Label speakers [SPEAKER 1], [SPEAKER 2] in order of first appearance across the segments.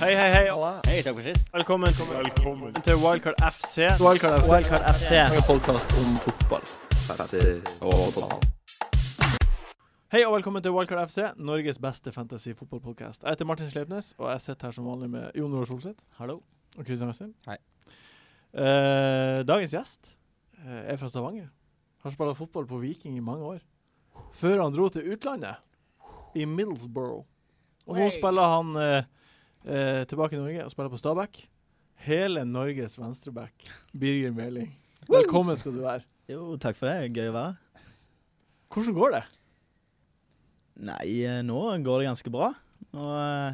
[SPEAKER 1] Hei, hei, hei.
[SPEAKER 2] Hei, takk for sist.
[SPEAKER 1] Velkommen, til Wildcard FC.
[SPEAKER 3] Wildcard FC.
[SPEAKER 2] Wildcard FC.
[SPEAKER 3] En podkast om fotball.
[SPEAKER 1] Hei og velkommen til Wildcard FC, Norges beste fantasy-fotballpodkast. Jeg heter Martin Sleipnes, og jeg sitter her som vanlig med Jon Roar Solseth
[SPEAKER 2] Hallo.
[SPEAKER 1] og Christian Wessel.
[SPEAKER 4] Hei.
[SPEAKER 1] Eh, dagens gjest eh, er fra Stavanger. Har spilt fotball på Viking i mange år. Før han dro til utlandet, i Middlesbrough. Og nå
[SPEAKER 2] Wey.
[SPEAKER 1] spiller han eh, eh, tilbake i Norge og spiller på Stabæk. Hele Norges venstreback, Birger Meling. Velkommen skal du være.
[SPEAKER 5] Jo, takk for det. Gøy å være her.
[SPEAKER 1] Hvordan går det?
[SPEAKER 5] Nei, eh, nå går det ganske bra. Nå eh,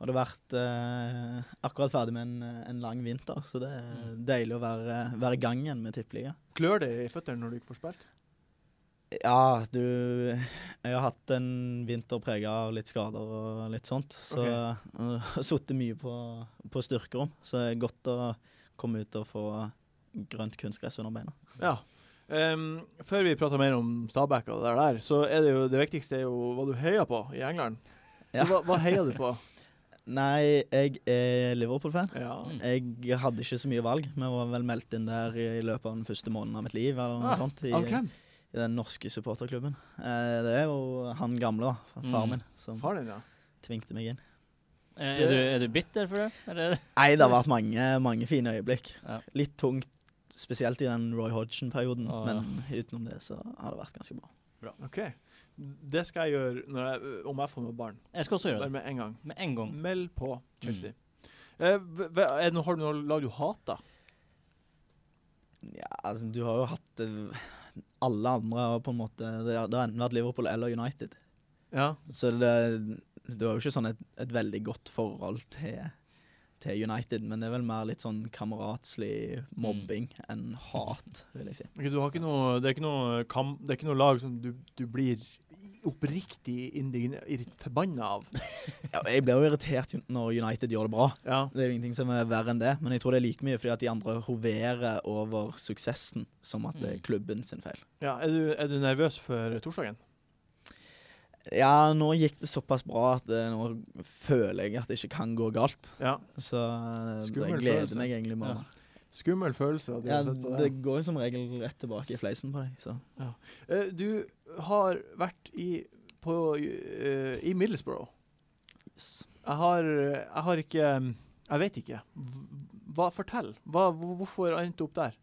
[SPEAKER 5] har det vært eh, akkurat ferdig med en, eh, en lang vinter, så det er deilig å være, eh, være i gang igjen med tippeliga.
[SPEAKER 1] Klør det i føttene når du ikke får spilt?
[SPEAKER 5] Ja, du Jeg har hatt en vinter prega av litt skader og litt sånt, så
[SPEAKER 1] Ok.
[SPEAKER 5] jeg har sittet mye på, på styrkerom, så det er godt å komme ut og få grønt kunstgress under beina.
[SPEAKER 1] Ja. Ehm, før vi prater mer om Stabæk og det der der, så er det jo det viktigste er jo hva du heier på i England.
[SPEAKER 5] Ja.
[SPEAKER 1] Så hva, hva heier du på?
[SPEAKER 5] Nei, jeg er Liverpool-fan.
[SPEAKER 1] Ja.
[SPEAKER 5] Jeg hadde ikke så mye valg. Vi var vel meldt inn der i løpet av den første måneden av mitt liv. eller noe
[SPEAKER 1] Ah,
[SPEAKER 5] sånt, i,
[SPEAKER 1] Av hvem?
[SPEAKER 5] I den norske supporterklubben. Eh, det er jo han gamle, da.
[SPEAKER 2] Mm.
[SPEAKER 5] Far min, som
[SPEAKER 1] Faren din, ja.
[SPEAKER 5] tvingte meg inn.
[SPEAKER 2] Eh, Er er du, er du bitter for det? Eller?
[SPEAKER 5] Nei, det har vært mange, mange fine øyeblikk.
[SPEAKER 2] Ja.
[SPEAKER 5] Litt tungt, spesielt i den Roy Hodgson-perioden.
[SPEAKER 2] Å, Ah, ja.
[SPEAKER 5] Men utenom det så har det vært ganske bra.
[SPEAKER 1] OK. Det skal jeg gjøre når jeg, om jeg får meg barn.
[SPEAKER 2] Jeg skal også gjøre
[SPEAKER 1] Bare
[SPEAKER 2] det.
[SPEAKER 1] med en gang.
[SPEAKER 2] Med en gang.
[SPEAKER 1] Meld på Chelsea. Eh, hva- hva- er det noe, har du noe lag du hater?
[SPEAKER 5] Ja, altså, du har jo hatt eh, alle andre har på en måte Det har det har enten vært Liverpool eller United.
[SPEAKER 1] Ja.
[SPEAKER 5] Så det, du har jo ikke sånn et, et veldig godt forhold til, til United, men det er vel mer litt sånn kameratslig mobbing enn hat, vil jeg si.
[SPEAKER 1] Ok, du har ikke noe, det, er ikke noe kam, det er ikke noe lag som du, du blir oppriktig indignert forbanna av?
[SPEAKER 5] Ja, og jeg blir jo irritert når United gjør det bra.
[SPEAKER 1] Ja.
[SPEAKER 5] Det er jo ingenting som er verre enn det, men jeg tror det er like mye fordi at de andre hoverer over suksessen som at det er klubben sin feil.
[SPEAKER 1] ja er, du, er du nervøs for torsdagen?
[SPEAKER 5] Ja, nå gikk det såpass bra at eh, nå føler jeg at det ikke kan gå galt.
[SPEAKER 1] Ja.
[SPEAKER 5] Så eh,
[SPEAKER 1] Skummel
[SPEAKER 5] jeg gleder
[SPEAKER 1] følelse.
[SPEAKER 5] meg egentlig med det.
[SPEAKER 1] Skummel følelse. at du
[SPEAKER 5] Ja,
[SPEAKER 1] har sett på
[SPEAKER 5] det går jo som regel rett tilbake i fleisen på deg, så
[SPEAKER 1] Eh, Du har vært i, på, eh, i Middlesbrough.
[SPEAKER 5] yes.
[SPEAKER 1] Jeg har, jeg har ikke Jeg vet ikke. Hva, fortell. Hva, hvorfor endte du opp der?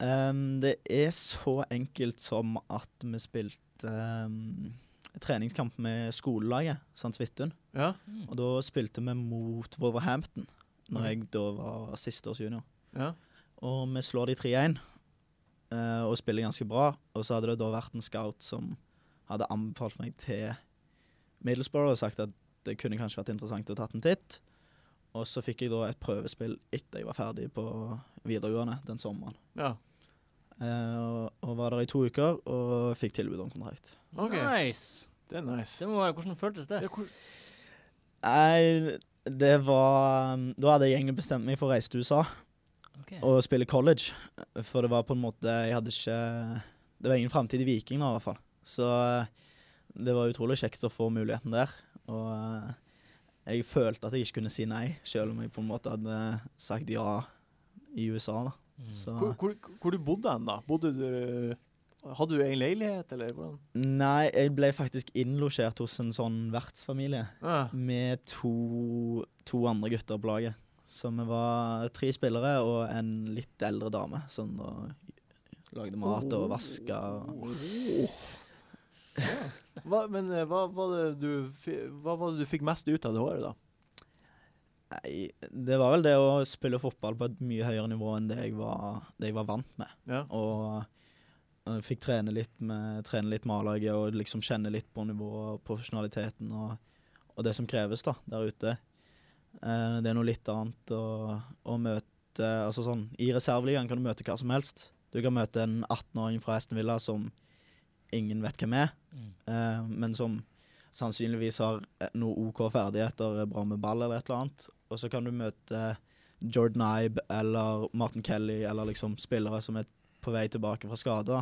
[SPEAKER 5] Um, det er så enkelt som at vi spilte um, treningskamp med skolelaget, St. Svithun.
[SPEAKER 1] Ja.
[SPEAKER 2] Mm.
[SPEAKER 5] Og da spilte vi mot Wolverhampton, når
[SPEAKER 1] Ok.
[SPEAKER 5] jeg da var siste års junior.
[SPEAKER 1] ja.
[SPEAKER 5] Og vi slår de 3-1 eh, og spiller ganske bra. Og så hadde det da vært en scout som hadde anbefalt meg til Middlesbrough og sagt at det kunne kanskje vært interessant å tatt en titt. Og så fikk jeg da et prøvespill etter jeg var ferdig på videregående den sommeren.
[SPEAKER 1] ja.
[SPEAKER 5] Eh, og, og var der i to uker og fikk tilbud om kontrakt.
[SPEAKER 1] OK.
[SPEAKER 2] Nice.
[SPEAKER 1] Det er nice.
[SPEAKER 2] Det må være hvordan føltes det?
[SPEAKER 1] Ja, hvor,
[SPEAKER 5] Nei, det var um, Da hadde jeg egentlig bestemt meg for å reise til USA
[SPEAKER 2] Ok.
[SPEAKER 5] og spille college. For det var på en måte Jeg hadde ikke Det var ingen framtid i Viking nå, i hvert fall. Så eh, det var utrolig kjekt å få muligheten der. Og eh, jeg følte at jeg ikke kunne si nei, selv om jeg på en måte hadde sagt ja i USA, da.
[SPEAKER 2] Mm.
[SPEAKER 5] Så
[SPEAKER 1] hvor, hvor, hvor du bodde hen, da? Bodde du Hadde du egen leilighet, eller hvordan?
[SPEAKER 5] Nei, jeg ble faktisk innlosjert hos en sånn vertsfamilie.
[SPEAKER 1] Ja.
[SPEAKER 5] med to, to andre gutter på laget. Så vi var tre spillere og en litt eldre dame som da lagde mat og vaska.
[SPEAKER 1] Hva, men eh, hva var, det du, fi- hva var det du fikk mest ut av det året, da?
[SPEAKER 5] Nei, det var vel det å spille fotball på et mye høyere nivå enn det jeg var, det jeg var vant med.
[SPEAKER 1] Ja.
[SPEAKER 5] Og og fikk trene litt med, trene litt med A-laget og liksom kjenne litt på nivået og profesjonaliteten og, og det som kreves da, der ute. Eh, det er noe litt annet å, å møte altså sånn, I reserveligaen kan du møte hva som helst. Du kan møte en 18-åring fra Aston Villa som ingen vet hvem er,
[SPEAKER 2] Mm.
[SPEAKER 5] eh, men som sannsynligvis har eh, noe OK ferdigheter, er bra med ball eller et eller annet. Og så kan du møte Jordan Ibe eller Martin Kelly eller liksom spillere som er på vei tilbake fra skade.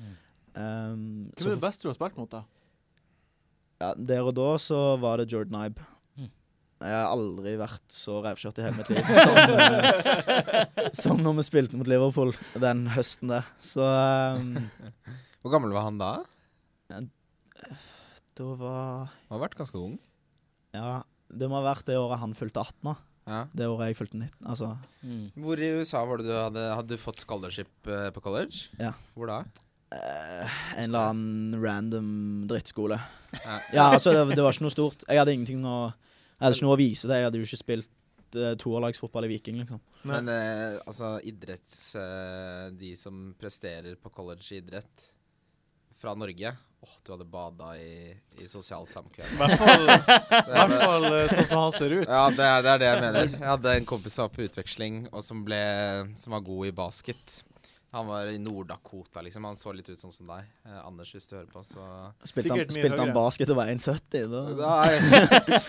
[SPEAKER 2] Mm.
[SPEAKER 5] Um,
[SPEAKER 1] Hvem er
[SPEAKER 5] så
[SPEAKER 1] det beste du har spilt mot, da?
[SPEAKER 5] ja, der og da så var det Jordan Ibe.
[SPEAKER 2] Mm.
[SPEAKER 5] Jeg har aldri vært så revkjørt i hele mitt liv som, eh, som når vi spilte mot Liverpool den høsten der. Så eh,
[SPEAKER 3] Hvor gammel var han da?
[SPEAKER 5] da var
[SPEAKER 3] Han har vært ganske ung.
[SPEAKER 5] Ja, det må ha vært det året han fylte 18. da.
[SPEAKER 3] Ja.
[SPEAKER 5] Det året jeg fylte 19. Altså,
[SPEAKER 2] Mm.
[SPEAKER 3] Hvor i USA var det du hadde, hadde du fått scholarship eh, på college?
[SPEAKER 5] Ja.
[SPEAKER 3] Hvor da?
[SPEAKER 5] eh, en eller annen random drittskole.
[SPEAKER 3] Ja.
[SPEAKER 5] Ja, altså, det, det var ikke noe stort. Jeg hadde ingenting å Jeg hadde ikke noe å vise til. Jeg hadde jo ikke spilt eh, toerlagsfotball i Viking, liksom.
[SPEAKER 3] Men eh, altså, idretts eh, De som presterer på college i idrett fra Norge Åh, du hadde bada i, i sosialt samkvem.
[SPEAKER 1] I hvert fall,
[SPEAKER 3] Det
[SPEAKER 1] i hvert
[SPEAKER 3] er-
[SPEAKER 1] fall eh, sånn som han ser ut.
[SPEAKER 3] Ja, det er, det er det jeg mener. Jeg hadde en kompis som var på utveksling, og som, ble, som var god i basket. Han var i Nord-Dakota, liksom. Han så litt ut sånn som deg. Eh, Anders, hvis du hører på, så
[SPEAKER 5] Spilte han,
[SPEAKER 1] Sikkert mye
[SPEAKER 5] spilte han
[SPEAKER 1] høyere.
[SPEAKER 5] basket og var 1,70? Da.
[SPEAKER 3] Nei,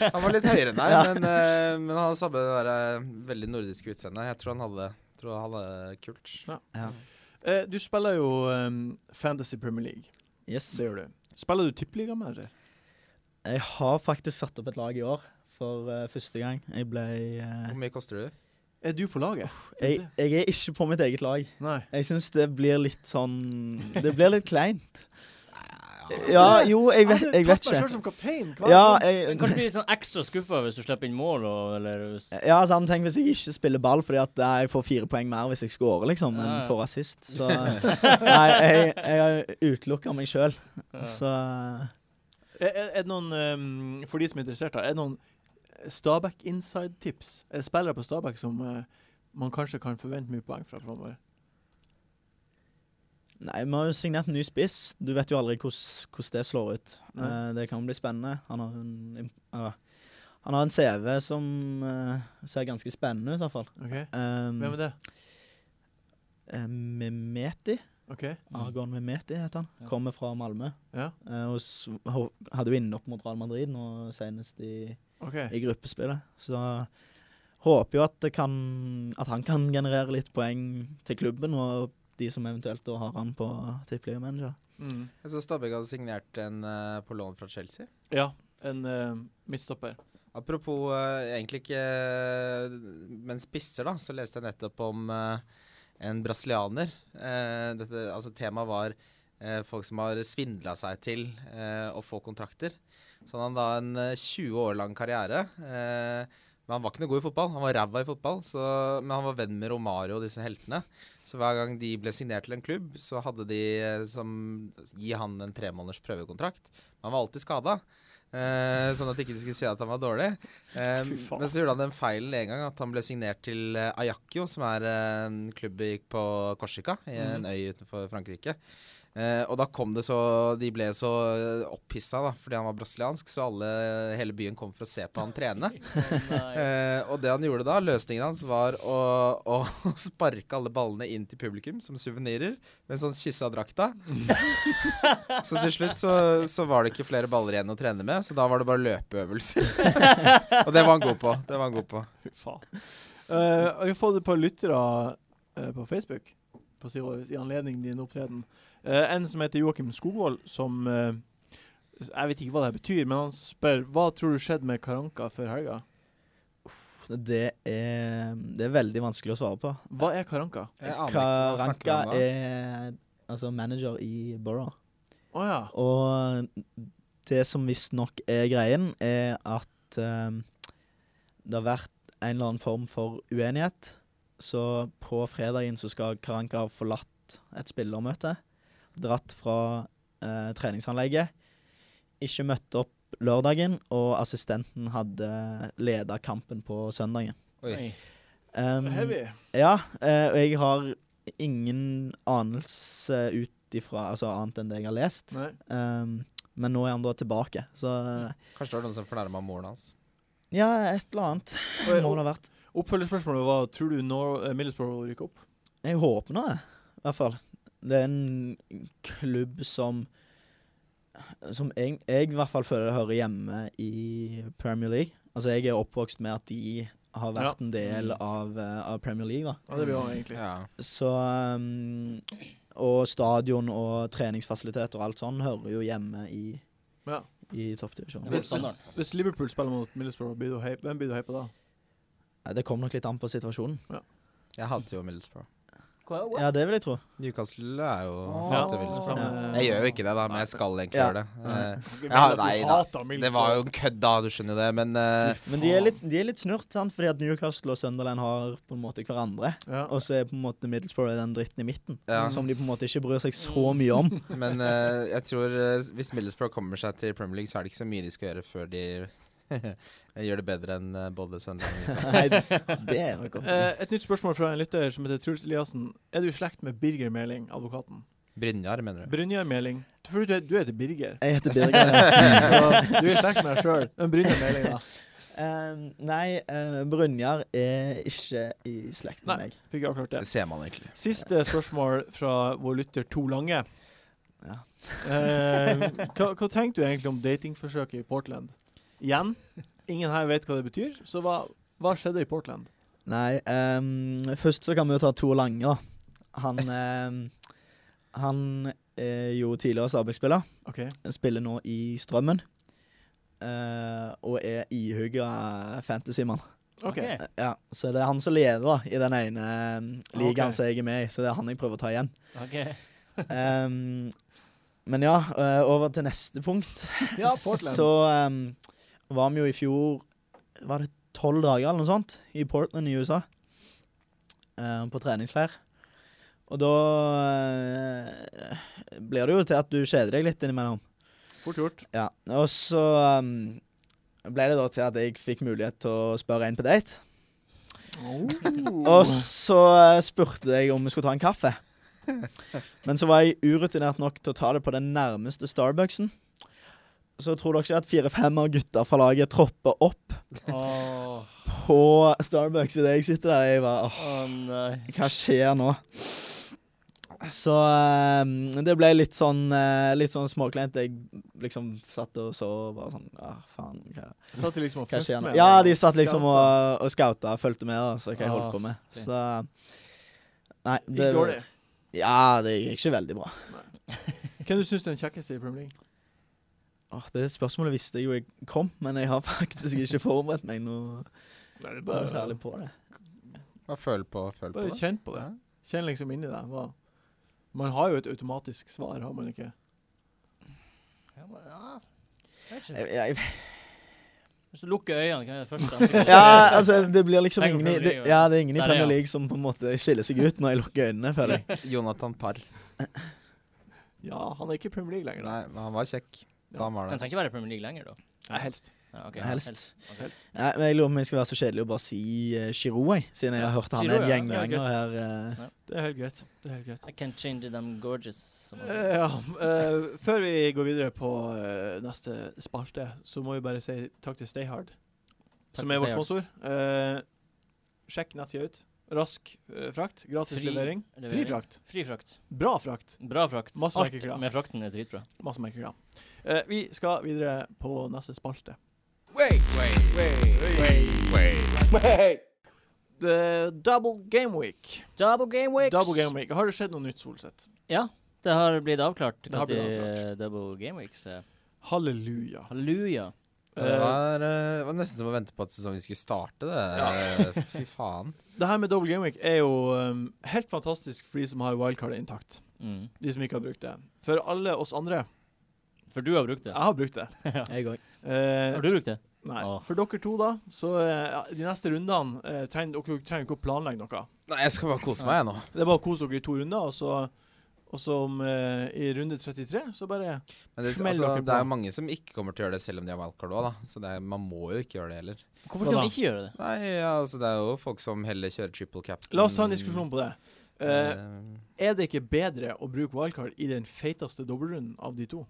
[SPEAKER 3] Han var litt høyere enn deg, men, eh, men han hadde samme det der, eh, veldig nordiske utseende. Jeg tror han hadde jeg tror han hadde det kult.
[SPEAKER 5] Ja.
[SPEAKER 1] Eh, du spiller jo eh, Fantasy Premier League.
[SPEAKER 5] Yes.
[SPEAKER 1] Det gjør du. Spiller du tippeliga med det?
[SPEAKER 5] Jeg har faktisk satt opp et lag i år for eh, første gang. Jeg ble eh,
[SPEAKER 3] Hvor mye koster du?
[SPEAKER 1] Er du på laget?
[SPEAKER 5] jeg, jeg er ikke på mitt eget lag.
[SPEAKER 1] Nei.
[SPEAKER 5] Jeg syns det blir litt sånn Det blir litt kleint. Ja, jo, jeg vet, jeg vet
[SPEAKER 1] Tatt meg selv
[SPEAKER 5] ikke.
[SPEAKER 1] som kaptein. hva?
[SPEAKER 5] Ja,
[SPEAKER 2] Men
[SPEAKER 5] jeg,
[SPEAKER 2] kanskje blir litt sånn ekstra skuffa hvis du slipper inn mål og eller hvis
[SPEAKER 5] ja sant, tenk hvis jeg ikke spiller ball, fordi at eh, jeg får fire poeng mer hvis jeg scorer, liksom,
[SPEAKER 2] Ja,
[SPEAKER 5] enn
[SPEAKER 2] ja.
[SPEAKER 5] får assist. Så Nei, jeg, jeg utelukker meg sjøl,
[SPEAKER 2] ja.
[SPEAKER 5] så
[SPEAKER 1] Er, er, er det noen, ehm, for de som er interessert, da, er det noen Stabæk inside-tips? Er det spillere på Stabæk som eh, man kanskje kan forvente mye poeng fra framover?
[SPEAKER 5] Nei, vi har jo signert en ny spiss. Du vet jo aldri hvordan hvordan det slår ut.
[SPEAKER 1] Nei.
[SPEAKER 5] Eh, det kan bli spennende. Han har en, imp- ja. han har en CV som eh, ser ganske spennende ut, i hvert fall.
[SPEAKER 1] Ok?
[SPEAKER 5] Um,
[SPEAKER 1] Hvem er det?
[SPEAKER 5] eh, Mehmeti.
[SPEAKER 1] Ok?
[SPEAKER 5] Argon Mehmeti heter han.
[SPEAKER 2] Ja.
[SPEAKER 5] Kommer fra Malmö.
[SPEAKER 1] Ja?
[SPEAKER 5] Eh, og s ho- hadde jo innopp mot Real Madrid nå senest i,
[SPEAKER 1] Ok.
[SPEAKER 5] i gruppespillet. Så håper jo at, det kan, at han kan generere litt poeng til klubben, og de som eventuelt da har han på tippeliga manager.
[SPEAKER 1] Mm.
[SPEAKER 3] Jeg så Stabæk hadde signert en eh, på lån fra Chelsea.
[SPEAKER 1] Ja, en eh, midtstopper.
[SPEAKER 3] Apropos eh, egentlig ikke eh, Men spisser, da, så leste jeg nettopp om eh, en brasilianer. Eh, dette, altså Temaet var eh, folk som har svindla seg til eh, å få kontrakter. Så han hadde da en eh, 20 år lang karriere. eh, men han var ikke noe god i fotball. Han var ræva i fotball. Så, men han var venn med Romario og disse heltene. Så hver gang de ble signert til en klubb, så hadde de eh, som Gi han en tremåneders prøvekontrakt. Men han var alltid skada. Eh, sånn at ikke de skulle si at han var dårlig. Eh,
[SPEAKER 1] Fy faen.
[SPEAKER 3] men så gjorde han den feilen en gang at han ble signert til eh, Ajaccio, som er eh, en klubb i- på Korsika, i
[SPEAKER 1] Mm.
[SPEAKER 3] en øy utenfor Frankrike. Eh, og da kom det så De ble så opphissa da, fordi han var brasiliansk, så alle, eh, hele byen kom for å se på han trene.
[SPEAKER 2] Nei.
[SPEAKER 3] Eh, og det han gjorde da, løsningen hans var å, å sparke alle ballene inn til publikum som suvenirer, mens han kyssa drakta. så til slutt så, så var det ikke flere baller igjen å trene med, så da var det bare løpeøvelser. og det var han god på. Det var han god på.
[SPEAKER 1] Fy faen. Eh, og vi har fått et par lyttere eh, på Facebook på si, i anledning din opptreden. Eh, en som heter Joakim Skogvold, som eh, Jeg vet ikke hva det her betyr, men han spør hva tror du skjedde med Karanka før helga?
[SPEAKER 5] Det er, det er veldig vanskelig å svare på.
[SPEAKER 1] Hva er Karanka?
[SPEAKER 3] Jeg aner ikke hva han snakker
[SPEAKER 5] Karanka
[SPEAKER 3] om da.
[SPEAKER 5] er altså manager i Borough.
[SPEAKER 1] Å ja.
[SPEAKER 5] Og det som visstnok er greien, er at eh, det har vært en eller annen form for uenighet. Så på fredagen så skal Karanka ha forlatt et spillermøte. Dratt fra eh, treningsanlegget. Ikke møtt opp lørdagen, og assistenten hadde leda kampen på søndagen.
[SPEAKER 3] Oi.
[SPEAKER 2] Nei.
[SPEAKER 5] Um,
[SPEAKER 1] Heavy.
[SPEAKER 5] Ja, eh, og jeg har ingen anelse ut ifra altså annet enn det jeg har lest.
[SPEAKER 1] Nei.
[SPEAKER 5] Um, men nå er han da tilbake, så eh,
[SPEAKER 3] Kanskje det var noen som fornærma moren hans.
[SPEAKER 5] Ja, et eller annet må
[SPEAKER 1] oh.
[SPEAKER 5] det ha vært.
[SPEAKER 1] Oppfølgerspørsmålet var tror du når eh, Middlesbrough rykker opp?
[SPEAKER 5] Jeg håper nå det, i hvert fall. Det er en klubb som Som jeg, jeg i hvert fall føler hører hjemme i Premier League. Altså, jeg er oppvokst med at de har vært en del av, eh, av Premier League, da.
[SPEAKER 1] Ja, det blir jo egentlig.
[SPEAKER 3] Ja.
[SPEAKER 5] Så um, Og stadion og treningsfasiliteter og alt sånn hører jo hjemme i,
[SPEAKER 1] Ja.
[SPEAKER 5] i toppdivisjonen.
[SPEAKER 2] Det var standarden.
[SPEAKER 1] Hvis Liverpool spiller mot Middlesbrough, blir du hei- hvem blir du hei på da?
[SPEAKER 5] Nei, Det kom nok litt an på situasjonen.
[SPEAKER 3] Jeg hater jo Middlesbrough.
[SPEAKER 2] Hva- hva-
[SPEAKER 5] Ja, det vil jeg tro.
[SPEAKER 3] Newcastle er jo
[SPEAKER 2] Ah.
[SPEAKER 3] hater
[SPEAKER 1] det
[SPEAKER 3] Middlesbrough.
[SPEAKER 1] samme-
[SPEAKER 3] Jeg gjør jo ikke det, da, men jeg skal egentlig
[SPEAKER 5] Ja.
[SPEAKER 3] gjøre det. Eh,
[SPEAKER 1] Ikke
[SPEAKER 3] Ja,
[SPEAKER 1] at du
[SPEAKER 3] nei da.
[SPEAKER 1] hater
[SPEAKER 3] Det
[SPEAKER 1] Middlesbrough.
[SPEAKER 3] var jo en kødd, da, du skjønner jo det, men eh,
[SPEAKER 5] Men de er litt, de er litt snurt, sant? fordi at Newcastle og Sunderland har på en måte hverandre.
[SPEAKER 1] ja.
[SPEAKER 5] Og så er på en måte Middlesbrough den dritten i midten,
[SPEAKER 3] Ja.
[SPEAKER 5] som de på en måte ikke bryr seg
[SPEAKER 1] Mm.
[SPEAKER 5] så mye om.
[SPEAKER 3] Men eh, jeg tror eh, hvis Middlesbrough kommer seg til Premier League, så er det ikke så mye de skal gjøre før de gjør det bedre enn eh, både Sunderland og Newcastle.
[SPEAKER 5] Nei, det er nok godt.
[SPEAKER 1] Eh, et nytt spørsmål fra en lytter som heter Truls Eliassen. Er du i slekt med Birger Meling, advokaten?
[SPEAKER 3] Brynjar, mener du?
[SPEAKER 1] Brynjar Meling. For du, er- du heter Birger.
[SPEAKER 5] Jeg heter Birger.
[SPEAKER 1] Så du er i slekt med deg sjøl. Men Brynjar Meling, da?
[SPEAKER 5] Eh, nei, eh, Brynjar er ikke i slekt med
[SPEAKER 1] Nei.
[SPEAKER 5] meg.
[SPEAKER 1] Fikk jeg avklart det.
[SPEAKER 3] Det ser man egentlig.
[SPEAKER 1] Siste spørsmål fra vår lytter To Lange.
[SPEAKER 5] Ja.
[SPEAKER 1] Eh, hva, hva tenkte du egentlig om datingforsøket i Portland? Igjen, ingen her vet hva det betyr, så hva, hva skjedde i Portland?
[SPEAKER 5] Nei, ehm, først så kan vi jo ta Tor Lange, da. Han, ehm, han er jo tidligere Stabæk-spiller.
[SPEAKER 1] OK.
[SPEAKER 5] Spiller nå i Strømmen. eh, og er ihugga fantasymann.
[SPEAKER 1] ok.
[SPEAKER 2] Ok.
[SPEAKER 5] Ja, så det er han som leder da, i den ene ehm, ligaen
[SPEAKER 1] Ok.
[SPEAKER 5] som jeg er med i, så det er han jeg prøver å ta igjen.
[SPEAKER 2] Ok.
[SPEAKER 5] Ehm, men ja, eh, over til neste punkt.
[SPEAKER 1] Ja, Portland.
[SPEAKER 5] Så ehm, var vi jo i fjor Var det tolv dager eller noe sånt i Portland i USA? eh, på treningsleir. Og da eh, blir det jo til at du kjeder deg litt innimellom.
[SPEAKER 1] Fort gjort.
[SPEAKER 5] Ja, og så ehm, ble det da til at jeg fikk mulighet til å spørre en på date.
[SPEAKER 1] Oh.
[SPEAKER 5] Og så eh, spurte jeg om vi skulle ta en kaffe. Men så var jeg urutinert nok til å ta det på den nærmeste Starbucksen. Så tror dere ikke at fire-fem av gutta fra laget tropper opp
[SPEAKER 2] Åh,
[SPEAKER 5] på Starbucks idet jeg sitter der? Jeg bare, åh,
[SPEAKER 2] åh, nei.
[SPEAKER 5] hva skjer nå? Så eh, det ble litt sånn, eh, litt sånn småkleint. Jeg liksom satt og så og bare sånn ah, faen, hva,
[SPEAKER 1] Satt de liksom og
[SPEAKER 5] hva skjer
[SPEAKER 1] fulgte
[SPEAKER 5] nå?
[SPEAKER 1] med?
[SPEAKER 5] Ja, de satt liksom og,
[SPEAKER 1] Skauta.
[SPEAKER 5] og scouta og fulgte med, da, så hva jeg
[SPEAKER 2] Ah,
[SPEAKER 5] holdt på med.
[SPEAKER 2] shit.
[SPEAKER 5] Så Nei,
[SPEAKER 1] Det gikk dårlig.
[SPEAKER 5] Ja, det gikk ikke veldig bra.
[SPEAKER 1] Hvem du syns er den kjekkeste i Premier League?
[SPEAKER 5] Åh, det spørsmålet visste jeg jo jeg kom, men jeg har faktisk ikke forberedt meg noe,
[SPEAKER 1] Nei, det er
[SPEAKER 5] noe særlig på det.
[SPEAKER 3] Bare føl på, føl på
[SPEAKER 1] Bare
[SPEAKER 3] det.
[SPEAKER 1] kjenn på det.
[SPEAKER 3] Ja.
[SPEAKER 1] Kjenn liksom inni deg hva Man har jo et automatisk svar, har man ikke?
[SPEAKER 2] Ja, men, ja. Jeg vet
[SPEAKER 5] Jeg,
[SPEAKER 2] ikke.
[SPEAKER 5] jeg,
[SPEAKER 2] Hvis du lukker øynene, kan jeg først da, så kan jeg-
[SPEAKER 5] ja, altså, det blir liksom
[SPEAKER 2] Tenk på
[SPEAKER 5] ingen i,
[SPEAKER 2] Premier
[SPEAKER 5] det,
[SPEAKER 2] League, altså.
[SPEAKER 5] ja, det er ingen i
[SPEAKER 2] Der er
[SPEAKER 5] Premier
[SPEAKER 2] han.
[SPEAKER 5] League som på en måte skiller seg ut når jeg lukker øynene, føler jeg.
[SPEAKER 3] Jonathan Parr.
[SPEAKER 1] Ja, han er ikke i Premier League lenger.
[SPEAKER 3] Nei, men han var kjekk. Da han var
[SPEAKER 2] Den
[SPEAKER 3] det.
[SPEAKER 2] trenger ikke være i Premier League lenger, da.
[SPEAKER 1] Nei, helst.
[SPEAKER 2] Ja, ok.
[SPEAKER 5] Helst.
[SPEAKER 2] Ok.
[SPEAKER 5] Nei, men jeg lurer på om jeg skal være så kjedelig og bare si eh, Giroud, jeg, siden jeg har hørt han er
[SPEAKER 2] Giroud,
[SPEAKER 5] en
[SPEAKER 2] ja.
[SPEAKER 5] gjenganger her. eh.
[SPEAKER 1] Det er helt greit. Det er helt greit.
[SPEAKER 2] I can change them gorgeous. Som man sier.
[SPEAKER 1] Eh, Ja, eh, før vi går videre på eh, neste spalte, så må vi bare si takk til Stayhard, som
[SPEAKER 2] til
[SPEAKER 1] er vår
[SPEAKER 2] Stay Hard.
[SPEAKER 1] sponsor. Eh, sjekk nettsida ut. Rask eh, frakt. Gratis
[SPEAKER 2] Fri
[SPEAKER 1] levering. Fri
[SPEAKER 2] levering.
[SPEAKER 1] frakt.
[SPEAKER 2] Fri frakt.
[SPEAKER 1] Bra frakt.
[SPEAKER 2] Bra frakt.
[SPEAKER 1] Masse
[SPEAKER 2] Alt
[SPEAKER 1] merkekrav.
[SPEAKER 2] med frakten er dritbra.
[SPEAKER 1] Masse merker, ja. Eh, vi skal videre på neste spalte. The double game week.
[SPEAKER 2] Double game weeks!
[SPEAKER 1] Double game week. Har det skjedd noe nytt, Solseth?
[SPEAKER 2] Ja, det har blitt avklart
[SPEAKER 1] har
[SPEAKER 2] når
[SPEAKER 1] blitt avklart.
[SPEAKER 2] double game weeks er.
[SPEAKER 1] Halleluja.
[SPEAKER 2] Halleluja.
[SPEAKER 3] Det
[SPEAKER 1] Eh,
[SPEAKER 3] var, eh, det var nesten som å vente på at sesongen skulle starte, det. Fy faen.
[SPEAKER 1] det her med double game week er jo eh, helt fantastisk for de som har wildcardet intakt.
[SPEAKER 2] Mm.
[SPEAKER 1] De som ikke har brukt det. For alle oss andre.
[SPEAKER 2] For du har brukt det.
[SPEAKER 1] Jeg har brukt det.
[SPEAKER 5] Jeg òg.
[SPEAKER 1] Eh,
[SPEAKER 2] Har du brukt det?
[SPEAKER 1] Nei.
[SPEAKER 2] Åh.
[SPEAKER 1] For dere to, da, så eh, ja, de neste rundene eh, trenger dere trenger ikke å planlegge noe.
[SPEAKER 3] Nei, jeg skal bare kose meg, jeg nå.
[SPEAKER 1] Det er bare å kose dere i to runder, og så, og så om, eh, i runde 33 så bare
[SPEAKER 3] Men det,
[SPEAKER 1] Smell
[SPEAKER 3] altså,
[SPEAKER 1] dere på.
[SPEAKER 3] det er jo mange som ikke kommer til å gjøre det selv om de har wildcard òg, da. Så det er, man må jo ikke gjøre det heller.
[SPEAKER 2] Hvorfor
[SPEAKER 1] Hva
[SPEAKER 2] skal
[SPEAKER 1] da?
[SPEAKER 2] man ikke gjøre det?
[SPEAKER 3] Nei, ja, altså det er jo folk som heller kjører triple cap.
[SPEAKER 1] La oss ta en diskusjon på det. Eh,
[SPEAKER 3] Eh,
[SPEAKER 1] er det ikke bedre å bruke wildcard i den feiteste dobbeltrunden av de to?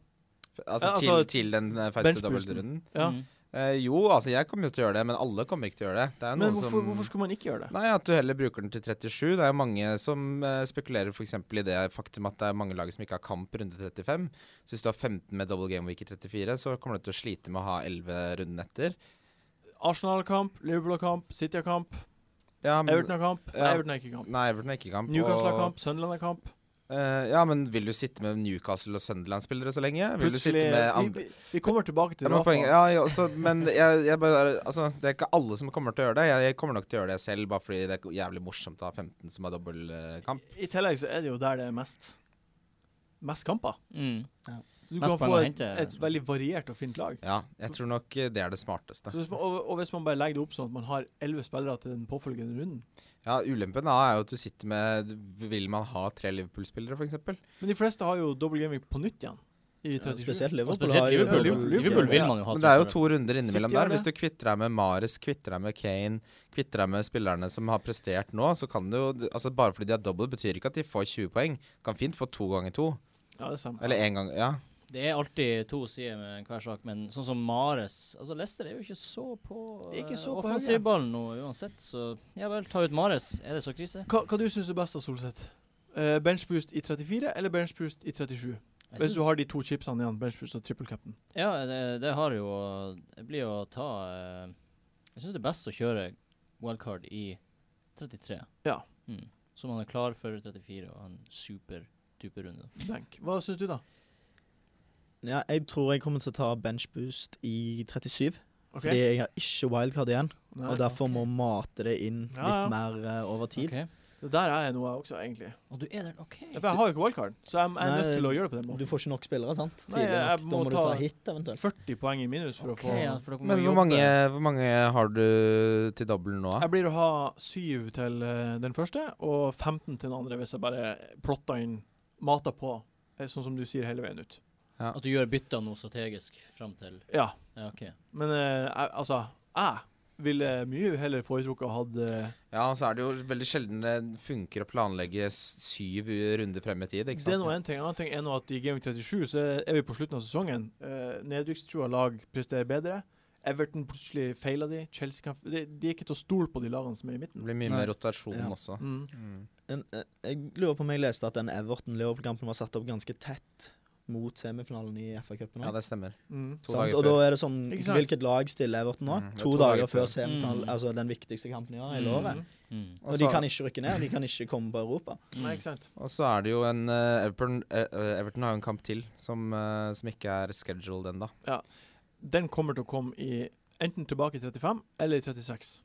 [SPEAKER 3] altså,
[SPEAKER 1] ja,
[SPEAKER 3] til,
[SPEAKER 1] altså,
[SPEAKER 3] til den eh, feiteste
[SPEAKER 1] benchboosten.
[SPEAKER 3] dobbeltrunden?
[SPEAKER 1] Ja.
[SPEAKER 2] Mm.
[SPEAKER 3] Eh, jo, altså jeg kommer jo til å gjøre det, men alle kommer ikke til å gjøre det. Det er jo
[SPEAKER 1] Men
[SPEAKER 3] noen
[SPEAKER 1] hvorfor,
[SPEAKER 3] som
[SPEAKER 1] hvorfor skulle man ikke gjøre det?
[SPEAKER 3] Nei, at du heller bruker den til 37. Det er jo mange som eh, spekulerer f.eks. i det faktum at det er mange lag som ikke har kamp runde 35. Så hvis du har 15 med double game week i 34, så kommer du til å slite med å ha 11 runden etter.
[SPEAKER 1] Arsenal-kamp, Liverpool-kamp, City-kamp,
[SPEAKER 3] Ja, men,
[SPEAKER 1] Everton-kamp.
[SPEAKER 3] Mm. Ja.
[SPEAKER 1] Everton er ikke kamp.
[SPEAKER 3] nei, Everton har ikke kamp. og-
[SPEAKER 1] Newcastle-kamp, Sunderland-kamp.
[SPEAKER 3] Eh, ja, men vil du sitte med Newcastle og Sunderland-spillere så lenge? Vil du sitte
[SPEAKER 1] Plutselig-
[SPEAKER 3] med andre
[SPEAKER 1] vi, vi, vi kommer tilbake til
[SPEAKER 3] Ja, men,
[SPEAKER 1] Rafa.
[SPEAKER 3] poenget, ja, ja, altså, men jeg, jeg bare, altså, det er ikke alle som kommer til å gjøre det. Jeg, jeg kommer nok til å gjøre det selv, bare fordi det er jævlig morsomt å ha 15 som har eh, dobbeltkamp.
[SPEAKER 1] I tillegg så er det jo der det er mest Mest kamper.
[SPEAKER 2] Mm.
[SPEAKER 1] Så du
[SPEAKER 2] Mest
[SPEAKER 1] kan
[SPEAKER 2] poeng
[SPEAKER 1] få
[SPEAKER 2] å
[SPEAKER 1] et,
[SPEAKER 2] hente,
[SPEAKER 1] et
[SPEAKER 2] liksom.
[SPEAKER 1] veldig variert og fint lag.
[SPEAKER 3] Ja, jeg tror nok eh, det er det smarteste.
[SPEAKER 1] Så hvis man, og, og hvis man bare legger det opp sånn at man har elleve spillere til den påfølgende runden
[SPEAKER 3] Ja, Ulempen da er jo at du sitter med Vil man ha tre Liverpool-spillere, f.eks.?
[SPEAKER 1] Men de fleste har jo double gaming på nytt igjen. I 37.
[SPEAKER 5] Spesielt
[SPEAKER 2] Og
[SPEAKER 5] Liverpool.
[SPEAKER 2] spesielt
[SPEAKER 5] har jo-
[SPEAKER 2] Liverpool.
[SPEAKER 1] Liverpool-
[SPEAKER 2] Liverpool,
[SPEAKER 1] Liverpool
[SPEAKER 2] vil
[SPEAKER 3] Ja,
[SPEAKER 2] man jo ha.
[SPEAKER 3] Men det er jo
[SPEAKER 2] spillere.
[SPEAKER 3] to runder innimellom
[SPEAKER 1] City har
[SPEAKER 3] der.
[SPEAKER 1] det.
[SPEAKER 3] Hvis du kvitter deg med Mares, kvitter deg med Kane, kvitter deg med spillerne som har prestert nå, så kan du jo altså Bare fordi de har dobbelt, betyr ikke at de får 20 poeng. Kan fint få to ganger to.
[SPEAKER 1] Ja, det stemmer.
[SPEAKER 3] Eller én gang Ja.
[SPEAKER 2] Det er alltid to sider med hver sak, men sånn som Mares Altså, Leicester er jo ikke så på
[SPEAKER 1] Det er ikke
[SPEAKER 2] eh,
[SPEAKER 1] så på høyre.
[SPEAKER 2] offensivballen nå uansett, så ja vel, ta ut Mares. Er det så krise?
[SPEAKER 1] Hva, hva du syns er best av Solseth? Eh, benchboost i 34 eller benchboost i 37?
[SPEAKER 2] Jeg
[SPEAKER 1] Hvis
[SPEAKER 2] synes-
[SPEAKER 1] du har de to chipsene igjen, benchboost og triple captain.
[SPEAKER 2] Ja, det, det har jo Det blir jo å ta eh, Jeg syns det er best å kjøre wildcard i 33.
[SPEAKER 1] Ja.
[SPEAKER 2] Mm. Så man er klar for 34 og en super-duper runde.
[SPEAKER 1] Blank. Hva syns du, da?
[SPEAKER 5] Ja, jeg tror jeg kommer til å ta benchboost i 37,
[SPEAKER 1] Ok.
[SPEAKER 5] fordi jeg har ikke wildcard igjen.
[SPEAKER 1] Nei.
[SPEAKER 5] Og derfor må mate det inn litt
[SPEAKER 1] Ja, ja.
[SPEAKER 5] mer eh, over tid.
[SPEAKER 2] Ok.
[SPEAKER 1] Det der er jeg noe jeg også, egentlig.
[SPEAKER 2] Og du er der, OK.
[SPEAKER 1] Jeg bare har jo ikke wildcard, så jeg, jeg er nødt
[SPEAKER 5] Nei,
[SPEAKER 1] til å gjøre det på den
[SPEAKER 5] Du
[SPEAKER 1] måten.
[SPEAKER 5] får ikke nok spillere, sant?
[SPEAKER 1] Nei, jeg
[SPEAKER 5] Tidlig nok. Da
[SPEAKER 1] må
[SPEAKER 5] må du
[SPEAKER 1] ta-
[SPEAKER 5] ta hit, eventuelt.
[SPEAKER 1] 40 poeng i minus for å
[SPEAKER 2] Ok,
[SPEAKER 1] få
[SPEAKER 2] ja, for dere må
[SPEAKER 3] Men hvor
[SPEAKER 2] jobbe.
[SPEAKER 3] mange, eh? hvor mange har du til dobbel nå? da?
[SPEAKER 1] Jeg blir å ha syv til eh, den første, og 15 til den andre hvis jeg bare plotter inn mater på, eh, sånn som du sier, hele veien ut.
[SPEAKER 2] At du gjør bytter nå strategisk fram til
[SPEAKER 1] Ja,
[SPEAKER 2] Ja, OK.
[SPEAKER 1] men eh, jeg, altså Jeg ville mye heller foretrukket å hatt eh,
[SPEAKER 3] Ja, og så er det jo veldig sjelden det funker å planlegge s- syv runder frem i tid, ikke sant?
[SPEAKER 1] Det er nå en ting. En annen ting er nå at i Game Week 37 så er vi på slutten av sesongen. Uh, Nedrykkstrua lag presterer bedre. Everton plutselig feiler de. Chelsea kan f de, de er ikke til å stole på de lagene som er i
[SPEAKER 3] Det
[SPEAKER 1] midten.
[SPEAKER 3] blir mye
[SPEAKER 5] Nei.
[SPEAKER 3] mer rotasjon
[SPEAKER 5] Ja.
[SPEAKER 3] også.
[SPEAKER 1] Mm.
[SPEAKER 3] Mm.
[SPEAKER 5] En, eh, jeg lurer på om jeg leste at den Everton-Liverpool-kampen var satt opp ganske tett mot semifinalen i FA-cupen.
[SPEAKER 3] Ja, det stemmer.
[SPEAKER 1] Mm.
[SPEAKER 3] To
[SPEAKER 5] sant?
[SPEAKER 3] dager
[SPEAKER 5] Og da
[SPEAKER 3] før.
[SPEAKER 5] er det sånn
[SPEAKER 1] Ikke sant?
[SPEAKER 5] Hvilket lag stiller Everton nå?
[SPEAKER 3] Mm, det er
[SPEAKER 5] to, dager før
[SPEAKER 2] Mm.
[SPEAKER 5] semifinalen, altså den viktigste kampen i år, hele
[SPEAKER 2] Mm.
[SPEAKER 3] Sånn
[SPEAKER 5] året.
[SPEAKER 2] Mm.
[SPEAKER 5] Og de kan ikke rykke ned, de kan ikke komme på Europa.
[SPEAKER 1] Nei, ikke sant.
[SPEAKER 3] Og så er det jo en eh, Everton, eh, eh, Everton har jo en kamp til som, eh, som ikke er scheduled ennå.
[SPEAKER 1] Den kommer til å komme i enten tilbake i 35 eller i 36. Det er jeg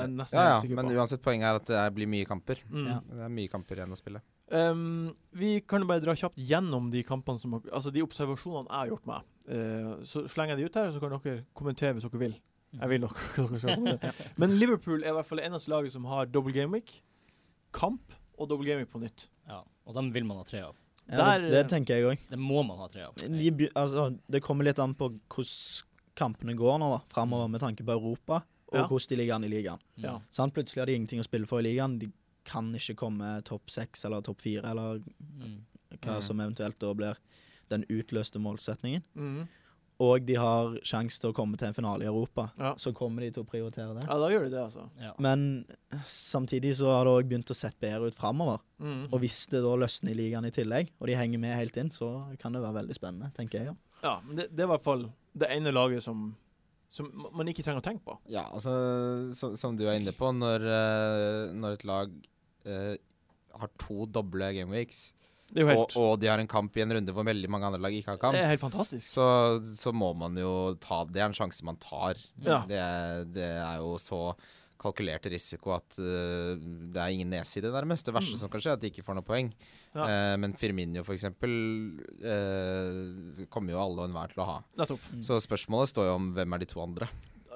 [SPEAKER 1] Eh, nesten
[SPEAKER 3] Eh, ja,
[SPEAKER 1] helt
[SPEAKER 3] ja,
[SPEAKER 1] sikker
[SPEAKER 3] men
[SPEAKER 1] på.
[SPEAKER 3] uansett, poenget er at det er- blir mye kamper.
[SPEAKER 1] Mm.
[SPEAKER 5] Ja.
[SPEAKER 3] Det er mye kamper igjen å spille.
[SPEAKER 1] Um, vi kan jo bare dra kjapt gjennom de kampene som har, altså de observasjonene jeg har gjort meg. Eh, så slenger jeg de ut her, så kan dere kommentere hvis dere vil. Jeg vil nok dere skal kommentere. Men Liverpool er i hvert fall det eneste laget som har double game week, kamp og double game week på nytt.
[SPEAKER 2] Ja. Og dem vil man ha tre av.
[SPEAKER 5] Ja,
[SPEAKER 1] Der-
[SPEAKER 5] det, det tenker jeg òg.
[SPEAKER 2] Det må man ha tre av.
[SPEAKER 5] De, be- altså, det kommer litt an på hvordan kampene går nå, da, framover med tanke på Europa, og
[SPEAKER 1] Mm. Ja.
[SPEAKER 5] hvordan de ligger an i ligaen.
[SPEAKER 2] Mm.
[SPEAKER 1] Ja.
[SPEAKER 5] Sant? Plutselig har de ingenting å spille for i ligaen. De kan ikke komme topp seks eller topp fire, eller
[SPEAKER 2] Mm.
[SPEAKER 5] hva
[SPEAKER 3] Mm.
[SPEAKER 5] som eventuelt da blir den utløste målsetningen.
[SPEAKER 1] Mhm.
[SPEAKER 5] Og de har sjanse til å komme til en finale i Europa.
[SPEAKER 1] Ja.
[SPEAKER 5] Så kommer de til å prioritere det.
[SPEAKER 1] Ja, da gjør de det, altså.
[SPEAKER 2] Ja.
[SPEAKER 5] Men samtidig så har det òg begynt å se bedre ut framover.
[SPEAKER 1] Mhm.
[SPEAKER 5] Og hvis det da løsner i ligaen i tillegg, og de henger med helt inn, så kan det være veldig spennende, tenker jeg. Ja.
[SPEAKER 1] Ja, men det, det er i hvert fall det ene laget som, som ma- man ikke trenger å tenke på.
[SPEAKER 3] Ja, altså, som, som du er inne på, når, eh, når et lag eh, har to doble gameweeks,
[SPEAKER 1] Det er jo
[SPEAKER 3] og,
[SPEAKER 1] helt,
[SPEAKER 3] og de har en kamp i en runde hvor veldig mange andre lag ikke har kamp,
[SPEAKER 1] det er helt fantastisk.
[SPEAKER 3] så, så må man jo ta Det er en sjanse man tar.
[SPEAKER 1] Ja.
[SPEAKER 3] Det, er- det er jo så kalkulert risiko at eh, det er ingen nedside, nærmest. Det verste
[SPEAKER 1] Mm.
[SPEAKER 3] som kan skje, er at de ikke får noe poeng.
[SPEAKER 1] Ja.
[SPEAKER 3] Eh, men Firmino, for eksempel, eh, kommer jo alle og enhver til å ha.
[SPEAKER 1] Nettopp.
[SPEAKER 5] Mm.
[SPEAKER 3] Så spørsmålet står jo om hvem er de to andre.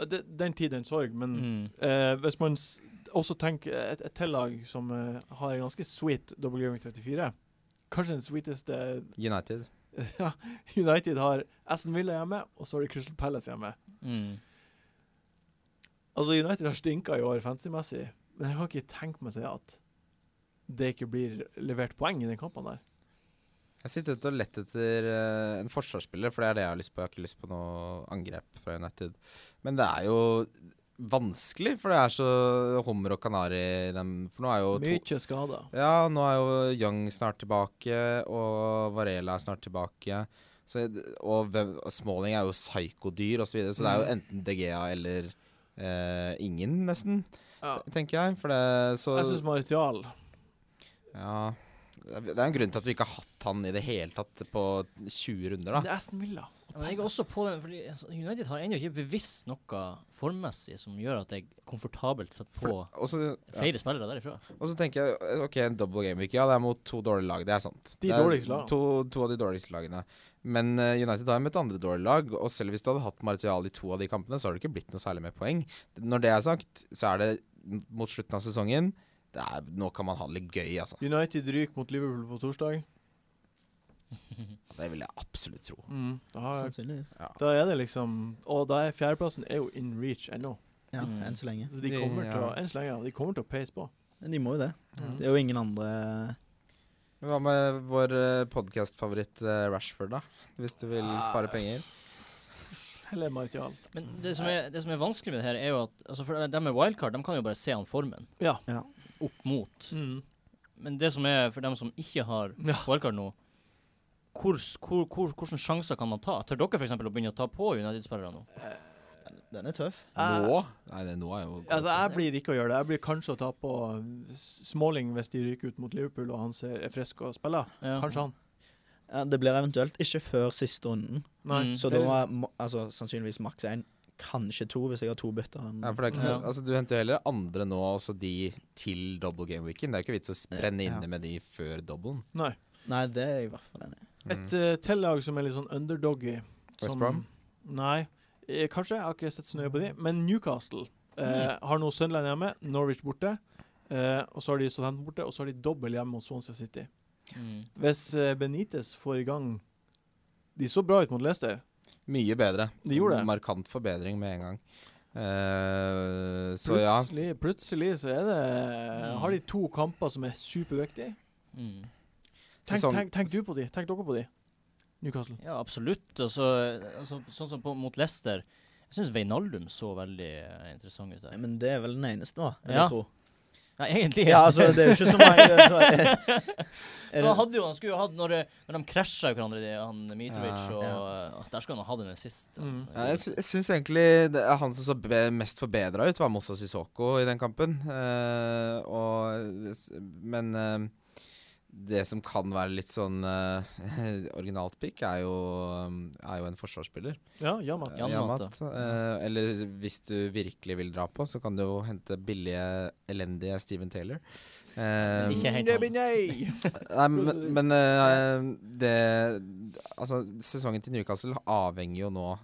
[SPEAKER 1] Det, den tid, den sorg, men
[SPEAKER 2] Mm.
[SPEAKER 1] Eh, hvis man s også tenker et, et tillag som eh, har en ganske sweet double gaming 34 Kanskje den sweeteste
[SPEAKER 3] United.
[SPEAKER 1] ja, United har Aston Villa hjemme, og så har de Crystal Palace hjemme.
[SPEAKER 2] Mm.
[SPEAKER 1] Altså United har stinka i år fancy-messig, men jeg kan ikke tenke meg til at det ikke blir levert poeng i den kampen der.
[SPEAKER 3] Jeg sitter ute og lett etter eh, en forsvarsspiller, for det er det jeg har lyst på. Jeg har ikke lyst på noe angrep fra United. Men det er jo vanskelig, for det er så hummer og kanari i dem. For nå er jo to
[SPEAKER 1] Mye skader.
[SPEAKER 3] Ja, nå er jo Young snart tilbake, og Varela er snart tilbake. Så, og hvem- og Smalling er jo psykodyr osv., så, videre, så det er jo enten De Gea eller eh, ingen, nesten,
[SPEAKER 1] Ja.
[SPEAKER 3] tenker jeg. For det så
[SPEAKER 1] Jeg syns Martial
[SPEAKER 3] Ja. Det er en grunn til at vi ikke har hatt han i det hele tatt på 20 runder,
[SPEAKER 1] Det
[SPEAKER 3] da.
[SPEAKER 1] er Aston Villa.
[SPEAKER 2] Men jeg er også på den, fordi altså, United har ennå ikke bevisst noe formmessig som gjør at jeg komfortabelt setter på
[SPEAKER 3] For- Og så ja.
[SPEAKER 2] flere spillere derifra.
[SPEAKER 3] Og så tenker jeg eh, OK, en double game week. Ja, det er mot to dårlige lag. Det er sant.
[SPEAKER 1] De
[SPEAKER 3] det er
[SPEAKER 1] dårligste lagene.
[SPEAKER 3] To, to av de dårligste lagene. Men eh, United har møtt andre dårlige lag, og selv hvis du hadde hatt Martial i to av de kampene, så har det ikke blitt noe særlig med poeng. Når det er sagt, så er det mot slutten av sesongen. Det er, nå kan man ha det litt gøy, altså.
[SPEAKER 1] United ryker mot Liverpool på torsdag.
[SPEAKER 3] Det vil jeg absolutt tro.
[SPEAKER 1] Da, er,
[SPEAKER 5] Sannsynligvis.
[SPEAKER 1] Mm. da er det liksom Og da er fjerdeplassen er jo in reach ennå.
[SPEAKER 5] Ja,
[SPEAKER 2] Mm.
[SPEAKER 5] enn så lenge.
[SPEAKER 1] Så De
[SPEAKER 3] De-
[SPEAKER 1] kommer til å
[SPEAKER 3] ja.
[SPEAKER 1] enn så lenge, ja, de kommer til å peise på.
[SPEAKER 5] Men de må jo det.
[SPEAKER 1] Mm.
[SPEAKER 5] Det er jo ingen andre
[SPEAKER 3] Men Hva med vår podkastfavoritt Rashford, da? Hvis du
[SPEAKER 1] Ah.
[SPEAKER 3] vil spare penger?
[SPEAKER 1] Heller Martial.
[SPEAKER 2] Men det som, er, det som er vanskelig med det her, er jo at altså for de med wildcard de kan jo bare se an formen
[SPEAKER 1] Ja.
[SPEAKER 2] opp mot.
[SPEAKER 1] Mm.
[SPEAKER 2] Men det som er for dem som ikke har
[SPEAKER 1] Ja.
[SPEAKER 2] wildcard nå, hvor, hvor, hvor, hvilke sjanser kan man ta? Tør dere f.eks. å begynne å ta på United-spillere nå?
[SPEAKER 5] Den er tøff.
[SPEAKER 1] Jeg-
[SPEAKER 3] Nå? Nei, det nå er jo
[SPEAKER 1] Ah. Altså, jeg blir ikke å gjøre det. Jeg blir kanskje å ta på eh, Smalling hvis de ryker ut mot Liverpool og han ser er frisk og spiller.
[SPEAKER 2] Ja.
[SPEAKER 1] Kanskje han.
[SPEAKER 5] Ja, det blir eventuelt ikke før siste runden.
[SPEAKER 2] Mm.
[SPEAKER 5] Så da er ma- altså, sannsynligvis maks én, kanskje to, hvis jeg har to bytter. Den.
[SPEAKER 3] Ja, for det er ikke,
[SPEAKER 1] Ja.
[SPEAKER 3] noe- Altså, du henter jo heller andre nå, også de til double game weekend. Det er jo ikke vits å brenne
[SPEAKER 5] Ja.
[SPEAKER 3] inne med de før doublen.
[SPEAKER 1] Nei.
[SPEAKER 5] Nei, det er jeg i hvert fall enig i.
[SPEAKER 1] Et uh, tellag som er litt sånn underdoggy.
[SPEAKER 3] Mm. West
[SPEAKER 1] som-
[SPEAKER 3] Brom?
[SPEAKER 1] Nei, eh, kanskje. Jeg har ikke sett så nøye på de. Men Newcastle
[SPEAKER 2] Mm.
[SPEAKER 1] eh, har nå Sunderland hjemme, Norwich borte. eh, og så har de Southampton borte, og så har de dobbel hjemme mot Swansea City.
[SPEAKER 2] Mm.
[SPEAKER 1] Hvis eh, Benitez får i gang De så bra ut mot Leicester.
[SPEAKER 3] Mye bedre.
[SPEAKER 1] De gjorde det.
[SPEAKER 3] Markant forbedring med en gang. Eh, så ja.
[SPEAKER 1] Plutselig, plutselig så er det
[SPEAKER 2] Mm.
[SPEAKER 1] Har de to kamper som er superviktige.
[SPEAKER 2] Mm.
[SPEAKER 1] Tenk,
[SPEAKER 3] Sesong-
[SPEAKER 1] tenk, tenk du på de. Tenk dere på de. Newcastle.
[SPEAKER 2] Ja, absolutt. Altså, altså, sånn som på, mot Leicester Jeg syns Veinaldum så veldig eh, interessant ut
[SPEAKER 5] Nei,
[SPEAKER 2] der.
[SPEAKER 5] Men det er vel den eneste, da. Vil
[SPEAKER 2] Ja.
[SPEAKER 5] jeg tro.
[SPEAKER 2] Ja, egentlig.
[SPEAKER 5] Ja, altså, det er jo ikke så mange det tror jeg- Er
[SPEAKER 2] For han,
[SPEAKER 5] det-
[SPEAKER 2] hadde jo, han skulle jo hatt når, eh, når de krasja hverandre, de- han Mitrovic
[SPEAKER 3] Ja.
[SPEAKER 2] og
[SPEAKER 5] Ja.
[SPEAKER 2] eh, Der skulle han ha hatt en assist.
[SPEAKER 1] Mm.
[SPEAKER 3] Ja, jeg, sy jeg syns egentlig det er han som så be mest forbedra ut, var Mossa Sissoko i den kampen. Eh, og, s- men eh, det som kan være litt sånn eh, originalt pick, er jo, er jo en forsvarsspiller.
[SPEAKER 1] Ja, Jamat.
[SPEAKER 2] Ja.
[SPEAKER 1] Ja.
[SPEAKER 2] Jan
[SPEAKER 3] Yamat. Eh, eller hvis du virkelig vil dra på, så kan du jo hente billige, elendige Steven Taylor. Eh,
[SPEAKER 2] Ikke helt han.
[SPEAKER 1] sånn.
[SPEAKER 3] nei, men men eh, det Altså, sesongen til Newcastle avhenger jo nå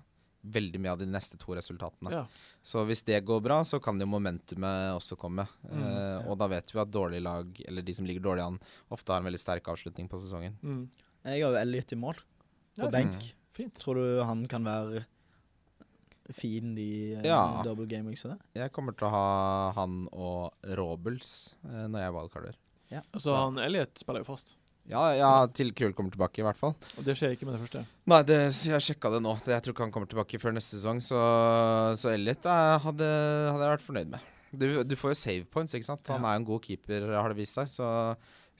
[SPEAKER 3] veldig mye av de neste to resultatene.
[SPEAKER 1] Ja.
[SPEAKER 3] Så hvis det går bra, så kan jo momentumet også komme. Eh,
[SPEAKER 1] Mm,
[SPEAKER 3] Og da vet vi at dårlige lag, eller de som ligger dårlig an, ofte har en veldig sterk avslutning på sesongen.
[SPEAKER 1] Mm.
[SPEAKER 5] Jeg har jo Elliot i mål, på
[SPEAKER 1] Ja, Mm.
[SPEAKER 5] benk.
[SPEAKER 3] fint.
[SPEAKER 1] Fint.
[SPEAKER 5] Tror du han kan være fin i eh,
[SPEAKER 3] Ja.
[SPEAKER 5] double game weeks og det?
[SPEAKER 3] Jeg kommer til å ha han og Robels eh, når jeg valgkarder.
[SPEAKER 1] Altså, han Elliot spiller jo fast.
[SPEAKER 3] Ja, ja, til Krul kommer tilbake, i hvert fall.
[SPEAKER 1] Og det skjer ikke med det første.
[SPEAKER 3] Nei, det, så jeg sjekka det nå. Det- Jeg tror ikke han kommer tilbake før neste sesong. Så, så Elliot eh, hadde, hadde jeg vært fornøyd med. Du, du får jo save points, ikke sant. Han
[SPEAKER 5] Ja.
[SPEAKER 3] er jo en god keeper, har det vist seg. Så,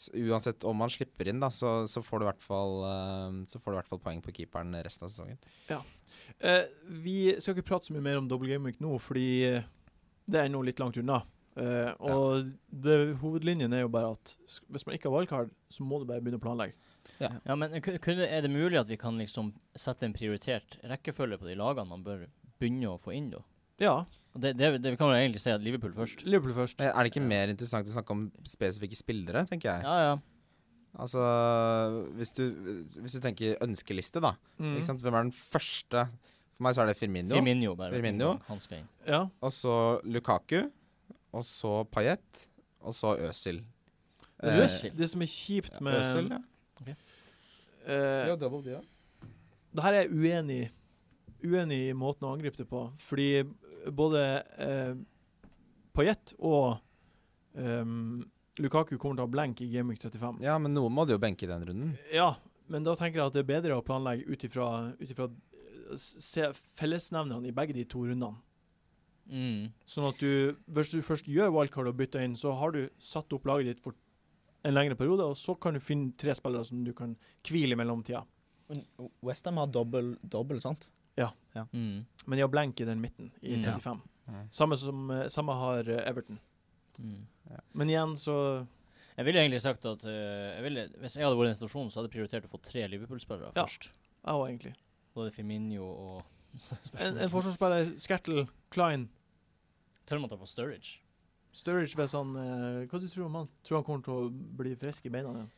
[SPEAKER 3] så uansett om han slipper inn, da, så, så får du i hvert fall eh, Så får du i hvert fall poeng på keeperen resten av sesongen.
[SPEAKER 1] Eh, vi skal ikke prate så mye mer om double game week nå, fordi eh, det er nå litt langt unna. Eh, og det, hovedlinjen er jo bare at sk- hvis man ikke har wildcard, så må du bare begynne å planlegge.
[SPEAKER 2] Ja, men ku- kunne, er det mulig at vi kan liksom sette en prioritert rekkefølge på de lagene man bør begynne å få inn, da?
[SPEAKER 1] Ja,
[SPEAKER 2] Og Det, det, det vi kan jo egentlig si at Liverpool først.
[SPEAKER 1] Liverpool først.
[SPEAKER 3] Eh, Er det ikke mer interessant å snakke om spesifikke spillere, tenker jeg.
[SPEAKER 2] Ja, ja.
[SPEAKER 3] Altså, hvis du, hvis du tenker ønskeliste, da.
[SPEAKER 1] Mm.
[SPEAKER 3] Ikke sant? Hvem er den første? For meg så er det Firmino.
[SPEAKER 2] Firmino. Bare,
[SPEAKER 3] Firmino.
[SPEAKER 2] Han skal inn.
[SPEAKER 1] Ja.
[SPEAKER 3] Og så Lukaku. Og så Payet. Og så Øsil.
[SPEAKER 1] Det, som
[SPEAKER 2] Øsil.
[SPEAKER 1] er, det som er kjipt med
[SPEAKER 3] Øsil, ja.
[SPEAKER 1] eh,
[SPEAKER 3] ja double, de, ja.
[SPEAKER 1] Det her er jeg uenig i. Uenig i måten å angripe det på. Fordi både eh, Payet og ehm, Lukaku kommer til å ha blank i Gameweek 35.
[SPEAKER 3] ja, men noen må du jo benke i den runden.
[SPEAKER 1] Ja, men da tenker jeg at det er bedre å planlegge ut ifra ut ifra, eh, Se fellesnevnerne i begge de to rundene.
[SPEAKER 2] Mm.
[SPEAKER 1] Sånn at du, hvis du først gjør wildcard og bytter inn, så har du satt opp laget ditt for en lengre periode, og så kan du finne tre spillere som du kan hvile i mellomtida.
[SPEAKER 5] Westham har dobbel, dobbel, sant?
[SPEAKER 2] Mm.
[SPEAKER 1] Men de har blank i den midten, i
[SPEAKER 2] Mm.
[SPEAKER 1] 35.
[SPEAKER 3] Mm.
[SPEAKER 1] Samme, som, eh, samme har eh, Everton.
[SPEAKER 2] Mm.
[SPEAKER 1] Men igjen, så
[SPEAKER 2] Jeg ville egentlig sagt at eh, jeg ville, hvis jeg hadde vært i den situasjonen, så hadde jeg prioritert å få tre Liverpool-spillere
[SPEAKER 1] Ja.
[SPEAKER 2] først.
[SPEAKER 1] Jeg òg, egentlig.
[SPEAKER 2] Både Firmino og
[SPEAKER 1] En, en forsvarsspiller, Skertel, Klein,
[SPEAKER 2] Tør man ta på Sturridge?
[SPEAKER 1] Sturridge hvis han eh, Hva du tror om han? Tror han kommer til å bli frisk i beina igjen?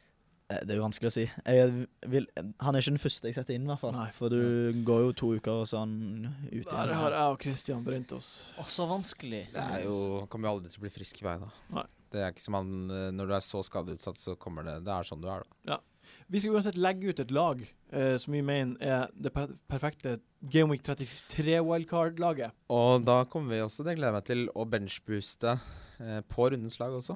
[SPEAKER 5] Eh, Det er jo vanskelig å si. Jeg eh, vil, han er ikke den første jeg setter inn, i hvert fall.
[SPEAKER 1] Nei.
[SPEAKER 5] For du går jo to uker og sånn ut igjen.
[SPEAKER 1] Der har jeg og Christian brent oss.
[SPEAKER 2] Å, så vanskelig.
[SPEAKER 3] Det er jo, han kommer jo aldri til å bli frisk i beina.
[SPEAKER 1] Nei.
[SPEAKER 3] Det er ikke som han, eh, Når du er så skadeutsatt, så kommer det Det er sånn du er, da.
[SPEAKER 1] Vi skal uansett legge ut et lag eh, som vi mener er det per perfekte Game Week 33 wildcard-laget.
[SPEAKER 3] Og da kommer vi også, det gleder jeg meg til, å benchbooste eh, på rundens lag også.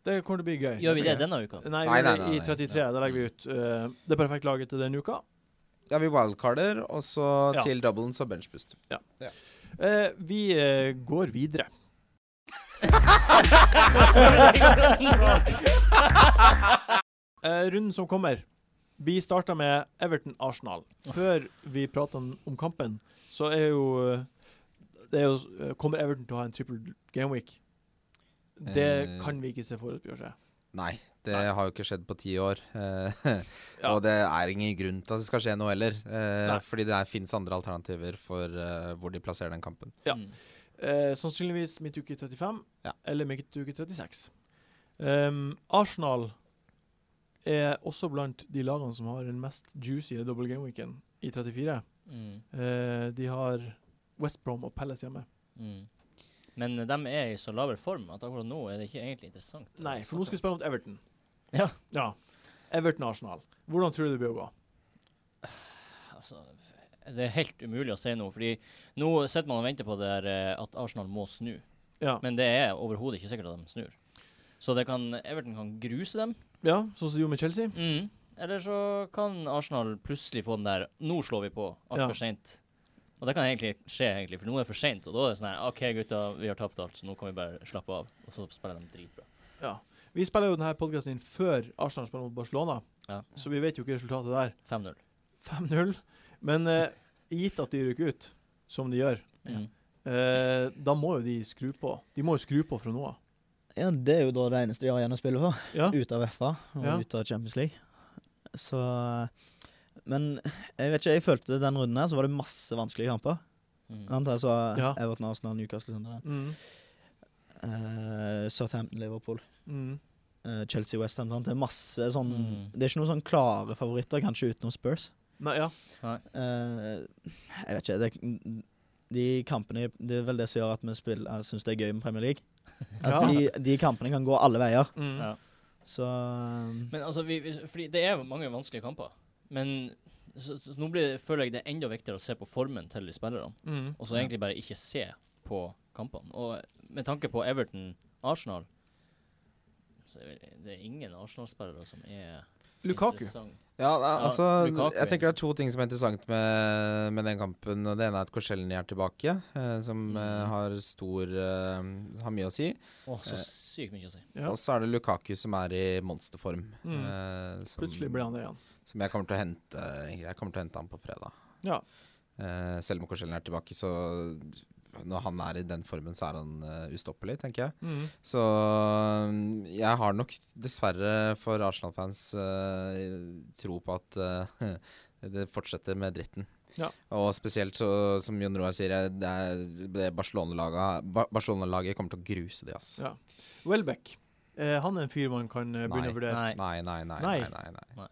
[SPEAKER 1] Det kommer til å bli gøy.
[SPEAKER 2] Gjør vi det denne uka?
[SPEAKER 1] Nei,
[SPEAKER 3] Nei,
[SPEAKER 1] vi
[SPEAKER 3] nei,
[SPEAKER 1] gjør det
[SPEAKER 3] nei, nei.
[SPEAKER 1] i 33. Da legger vi ut eh, det perfekte laget til denne uka.
[SPEAKER 3] Ja, vi wildcarder, og så
[SPEAKER 1] Ja.
[SPEAKER 3] til doublen, så benchboost.
[SPEAKER 1] Eh, vi eh, går videre. Eh, runden som kommer. Vi starta med Everton-Arsenal. Før vi prata om kampen, så er jo, eh, det er jo eh, Kommer Everton til å ha en triple gameweek? Det
[SPEAKER 3] Eh.
[SPEAKER 1] kan vi ikke se forutbjør seg.
[SPEAKER 3] Nei, det
[SPEAKER 1] Nei.
[SPEAKER 3] har jo ikke skjedd på ti år. eh,
[SPEAKER 1] Ja.
[SPEAKER 3] Og det er ingen grunn til at det skal skje noe heller. eh,
[SPEAKER 1] Nei.
[SPEAKER 3] Fordi det fins andre alternativer for eh, hvor de plasserer den kampen.
[SPEAKER 1] Ja.
[SPEAKER 2] Mm.
[SPEAKER 1] Eh, sannsynligvis midtuke 35
[SPEAKER 3] Ja.
[SPEAKER 1] eller midtuke 36. Ehm, Arsenal er også blant de lagene som har den mest juicy double game-weekend i 34.
[SPEAKER 2] Mm.
[SPEAKER 1] Eh, de har West Brom og Palace hjemme.
[SPEAKER 2] Mm. Men de er i så laber form at akkurat nå er det ikke egentlig interessant. å
[SPEAKER 1] Nei, for nå skal vi
[SPEAKER 2] snakke
[SPEAKER 1] spille mot Everton.
[SPEAKER 2] Ja.
[SPEAKER 1] ja. Everton-Arsenal. Hvordan tror du det blir å gå?
[SPEAKER 2] om. altså, Det er helt umulig å si noe, fordi nå sitter man og venter på det der, eh, at Arsenal må snu.
[SPEAKER 1] Ja,
[SPEAKER 2] Men det er overhodet ikke sikkert at de snur. Så det kan, Everton kan gruse dem.
[SPEAKER 1] ja sånn som de gjorde med Chelsea?
[SPEAKER 2] Mm. Eller så kan Arsenal plutselig få den der Nå slår vi på
[SPEAKER 1] Ja.
[SPEAKER 2] altfor sent seint. Og det kan egentlig skje, egentlig, for nå er det for seint. Og da er det sånn her OK, gutta, vi har tapt alt, så nå kan vi bare slappe av. Og så spiller de dritbra.
[SPEAKER 1] Ja. Vi spiller jo denne podkasten inn før Arsenal spiller mot Barcelona,
[SPEAKER 2] Ja.
[SPEAKER 1] så vi vet jo ikke resultatet der.
[SPEAKER 2] 5-0.
[SPEAKER 1] 5-0. Men eh, gitt at de rykker ut, som de gjør,
[SPEAKER 2] Mm.
[SPEAKER 1] eh, da må jo de skru på. De må jo skru på fra nå av.
[SPEAKER 5] Ja, det er jo da det eneste de har igjen å spille for.
[SPEAKER 1] Ja.
[SPEAKER 5] Ute av FA og
[SPEAKER 1] Ja.
[SPEAKER 5] ute av Champions League. Så Men jeg vet ikke, jeg følte den runden her så var det masse vanskelige kamper.
[SPEAKER 2] Mm.
[SPEAKER 5] Sant? Altså
[SPEAKER 1] Ja.
[SPEAKER 5] Everton, Arsenal, Newcastle, Sunderland.
[SPEAKER 1] Mm.
[SPEAKER 5] Eh, Southampton, Liverpool,
[SPEAKER 1] Mm.
[SPEAKER 5] eh, Chelsea, Westham. Sant? Det er masse sånn
[SPEAKER 2] Mm.
[SPEAKER 5] Det er ikke noen sånn klare favoritter, kanskje utenom Spurs.
[SPEAKER 1] Nei, ja.
[SPEAKER 5] Eh, jeg vet ikke. Det, de kampene Det er vel det som gjør at vi spiller, syns det er gøy med Premier League. At
[SPEAKER 1] Ja.
[SPEAKER 5] de, de kampene kan gå alle veier.
[SPEAKER 1] Mm.
[SPEAKER 2] Ja.
[SPEAKER 5] Så eh,
[SPEAKER 2] Men altså, vi, vi, fordi det er mange vanskelige kamper. Men så, så, nå blir, det- føler jeg det er enda viktigere å se på formen til de spillerne.
[SPEAKER 1] Mm.
[SPEAKER 2] Og så egentlig bare ikke se på kampene. Og med tanke på Everton-Arsenal, så er det- det er ingen Arsenal-spillere som er
[SPEAKER 1] Lukaku.
[SPEAKER 2] interessant.
[SPEAKER 3] Ja, da,
[SPEAKER 2] Ja,
[SPEAKER 3] altså
[SPEAKER 2] Lukaku,
[SPEAKER 3] Jeg tenker det er to ting som er interessant med, med den kampen. Og Det ene er at Korselny er tilbake, eh, som
[SPEAKER 2] Mm.
[SPEAKER 3] eh, har stor eh, Har mye å si.
[SPEAKER 2] Å, så
[SPEAKER 3] Eh.
[SPEAKER 2] sykt mye å si.
[SPEAKER 1] Ja. Mm.
[SPEAKER 3] Og så er det Lukaku som er i monsterform. eh, som,
[SPEAKER 1] Plutselig ble han det igjen.
[SPEAKER 3] Som jeg kommer til å hente Jeg kommer til å hente han på fredag.
[SPEAKER 1] Ja.
[SPEAKER 3] Eh, selv om Korselny er tilbake, så når han er i den formen, så er han eh, ustoppelig, tenker jeg.
[SPEAKER 1] Mm.
[SPEAKER 3] Så mm, jeg har nok dessverre for Arsenal-fans eh, tro på at eh, det fortsetter med dritten.
[SPEAKER 1] Ja.
[SPEAKER 3] Og spesielt så, som Jon Roar sier, jeg- det, er- det Barcelona-laget Ba- Barcelona-laget kommer til å gruse de, ass.
[SPEAKER 1] Ja. Welbeck. Eh, han er en fyr man kan eh, begynne
[SPEAKER 3] Nei.
[SPEAKER 1] å vurdere.
[SPEAKER 2] Nei.
[SPEAKER 3] Nei, nei, nei.
[SPEAKER 1] Nei.
[SPEAKER 3] nei, nei, nei.
[SPEAKER 2] Nei.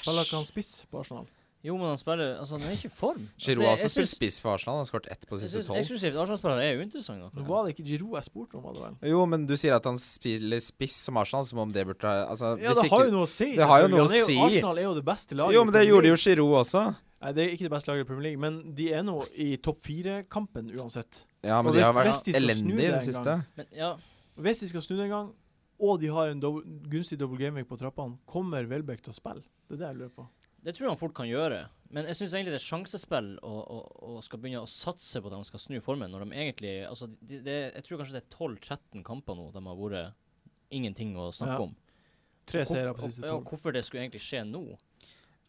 [SPEAKER 1] Spiller ikke han spiss på Arsenal?
[SPEAKER 2] Jo, men han spiller Altså, han er ikke i form.
[SPEAKER 3] Giroud har
[SPEAKER 2] altså,
[SPEAKER 3] også
[SPEAKER 2] jeg- jeg
[SPEAKER 3] spilt
[SPEAKER 2] syns-
[SPEAKER 3] spiss for Arsenal, han har skåret ett på de
[SPEAKER 2] Jeg
[SPEAKER 3] siste
[SPEAKER 2] syns
[SPEAKER 3] tolv.
[SPEAKER 2] eksklusivt Arsenal-spillere er uinteressante.
[SPEAKER 1] Nå
[SPEAKER 2] nå.
[SPEAKER 1] var det ikke Giroud jeg spurte om, var det vel?
[SPEAKER 3] Jo, men du sier at han spiller spiss som Arsenal, som om det burde altså,
[SPEAKER 1] Ja,
[SPEAKER 3] hvis
[SPEAKER 1] det
[SPEAKER 3] ikke-
[SPEAKER 1] har jo noe å si.
[SPEAKER 3] det har jo
[SPEAKER 1] selvfølgelig.
[SPEAKER 3] noe
[SPEAKER 1] Han
[SPEAKER 3] å
[SPEAKER 1] er jo-
[SPEAKER 3] si.
[SPEAKER 1] Arsenal er jo det beste laget.
[SPEAKER 3] Jo, men
[SPEAKER 1] i
[SPEAKER 3] det
[SPEAKER 1] Premier
[SPEAKER 3] gjorde
[SPEAKER 1] League.
[SPEAKER 3] jo Giroud også.
[SPEAKER 1] Nei, det er ikke det beste laget i Premier League, men de er nå i topp fire-kampen uansett.
[SPEAKER 3] Ja, men
[SPEAKER 1] Og
[SPEAKER 3] de
[SPEAKER 1] hvis- hvis
[SPEAKER 3] har vært
[SPEAKER 1] de skal snu
[SPEAKER 3] elendige i
[SPEAKER 1] det
[SPEAKER 3] det
[SPEAKER 1] en
[SPEAKER 3] siste.
[SPEAKER 1] gang.
[SPEAKER 2] Men ja,
[SPEAKER 1] Hvis de skal snu det en gang, og de har en dob- gunstig double gaming på trappene, kommer Welbeck til å spille? Det er det jeg lurer på.
[SPEAKER 2] det tror jeg han fort kan gjøre. Men jeg syns egentlig det er sjansespill å, å, å skal begynne å satse på at de skal snu formen, når de egentlig Altså, de, det, jeg tror kanskje det er 12-13 kamper nå de har vært ingenting å snakke
[SPEAKER 1] Ja.
[SPEAKER 2] om.
[SPEAKER 1] Tre seire
[SPEAKER 2] og-
[SPEAKER 1] på siste
[SPEAKER 2] ja,
[SPEAKER 1] tolv.
[SPEAKER 2] hvorfor det skulle egentlig skje nå,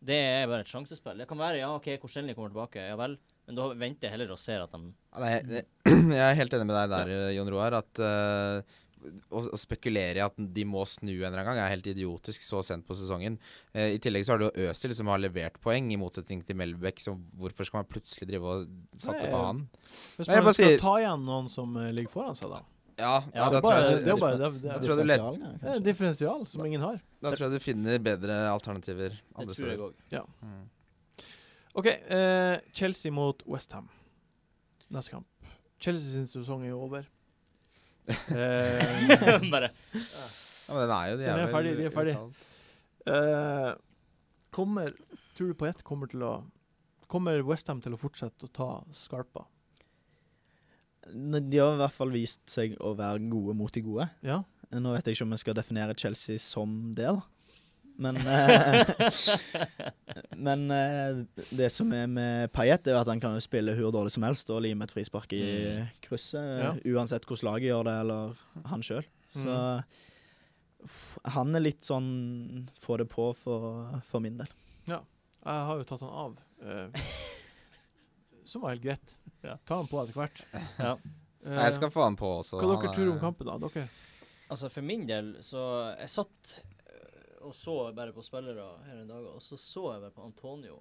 [SPEAKER 2] det er bare et sjansespill. Det kan være ja, OK, Korselny kommer tilbake, ja vel, men da venter jeg heller og ser at de
[SPEAKER 3] Ja, Nei, jeg jeg er helt enig med deg der, Jon Roar, at eh, å, å spekulere i at de må snu en eller annen gang, er helt idiotisk så sent på sesongen. Eh, I tillegg så har du jo Øzil, som har levert poeng, i motsetning til Melbæk. Så hvorfor skal man plutselig drive og satse
[SPEAKER 1] Nei,
[SPEAKER 3] på han?
[SPEAKER 1] Hvis
[SPEAKER 3] Nei, jeg
[SPEAKER 1] man
[SPEAKER 3] bare
[SPEAKER 1] skal
[SPEAKER 3] sier-
[SPEAKER 1] ta igjen noen som eh, ligger foran seg, da.
[SPEAKER 3] Ja, ja,
[SPEAKER 1] Det
[SPEAKER 3] da,
[SPEAKER 1] er
[SPEAKER 3] tror
[SPEAKER 1] bare-
[SPEAKER 3] jeg,
[SPEAKER 1] det er
[SPEAKER 3] du-
[SPEAKER 1] bare- det er-
[SPEAKER 3] jeg tror du led-
[SPEAKER 5] Differensialene,
[SPEAKER 1] det er et
[SPEAKER 5] kanskje.
[SPEAKER 1] differensial som ingen har.
[SPEAKER 3] da tror jeg du finner bedre alternativer
[SPEAKER 2] Det
[SPEAKER 3] andre
[SPEAKER 2] tror jeg
[SPEAKER 3] steder.
[SPEAKER 2] òg.
[SPEAKER 3] Mm.
[SPEAKER 1] OK, eh, Chelsea mot Westham neste kamp. Chelsea sin sesong er jo over. Eh,
[SPEAKER 2] Bare
[SPEAKER 3] Ja, men den er jo de
[SPEAKER 1] Den er
[SPEAKER 3] vel
[SPEAKER 1] ferdig, de er ferdig.
[SPEAKER 3] uttalt.
[SPEAKER 1] eh, kommer Tror du på ett kommer til å Kommer Westham til å fortsette å ta skarpa?
[SPEAKER 5] Ne- De har i hvert fall vist seg å være gode mot de gode.
[SPEAKER 1] Ja?
[SPEAKER 5] Nå vet jeg ikke om jeg skal definere Chelsea som det, da. Men eh, Men eh, det som er med Payet, er jo at han kan jo spille hvor dårlig som helst og lime et frispark i
[SPEAKER 2] Mm.
[SPEAKER 5] krysset. eh, Uansett hvordan laget gjør det, eller han sjøl. Så
[SPEAKER 2] Mm.
[SPEAKER 5] uff, han er litt sånn få det på for, for min del.
[SPEAKER 1] Jeg har jo tatt han av. Eh, som var helt greit.
[SPEAKER 2] Ja.
[SPEAKER 1] Ta han på etter hvert.
[SPEAKER 2] Ja.
[SPEAKER 1] Eh,
[SPEAKER 3] Nei, Jeg skal få han på
[SPEAKER 1] hva
[SPEAKER 3] også. Han
[SPEAKER 1] dere
[SPEAKER 3] er-
[SPEAKER 1] tror om kampen, da? Dere?
[SPEAKER 2] Altså, for min del, så Jeg satt øh, og så bare på spillere her en dag, og så så jeg bare på Antonio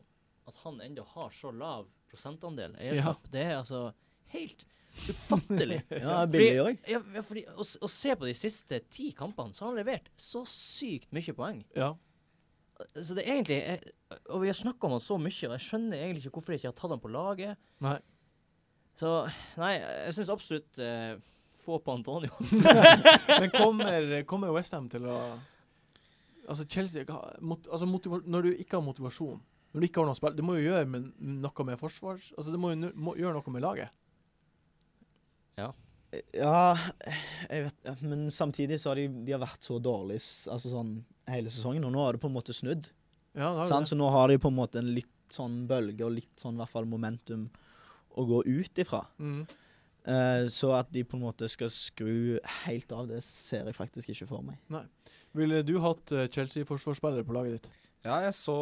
[SPEAKER 2] at han ennå har så lav prosentandel eierskap. Det er altså helt ufattelig.
[SPEAKER 5] Ja, billig òg.
[SPEAKER 2] Ja, ja, fordi å, s- å se på de siste ti kampene, så har han levert så sykt mye poeng.
[SPEAKER 1] Ja.
[SPEAKER 2] Så det er egentlig jeg, Og vi har snakka om han så mye, og jeg skjønner egentlig ikke hvorfor jeg ikke har tatt han på laget.
[SPEAKER 1] Nei.
[SPEAKER 2] Så nei, jeg syns absolutt eh, få på Antonio.
[SPEAKER 1] Men kommer, kommer Westham til å Altså Chelsea har- mot, altså motiva- Når du ikke har motivasjon Når du ikke har noe å spille Det må jo gjøre med, noe med forsvars... Altså Det må jo nu- må, gjøre noe med laget.
[SPEAKER 5] Ja, jeg vet ja, Men samtidig så har de, de har vært så dårlige s- altså sånn, hele sesongen, og nå har det på en måte snudd.
[SPEAKER 1] Ja, det har du
[SPEAKER 5] Sant?
[SPEAKER 1] det.
[SPEAKER 5] Så nå har de på en måte en litt sånn bølge og litt sånn i hvert fall momentum å gå ut ifra.
[SPEAKER 1] Mm.
[SPEAKER 5] Eh, så at de på en måte skal skru helt av, det ser jeg faktisk ikke for meg.
[SPEAKER 1] Ville du hatt eh, Chelsea-forsvarsspillere på laget ditt?
[SPEAKER 3] Ja, jeg så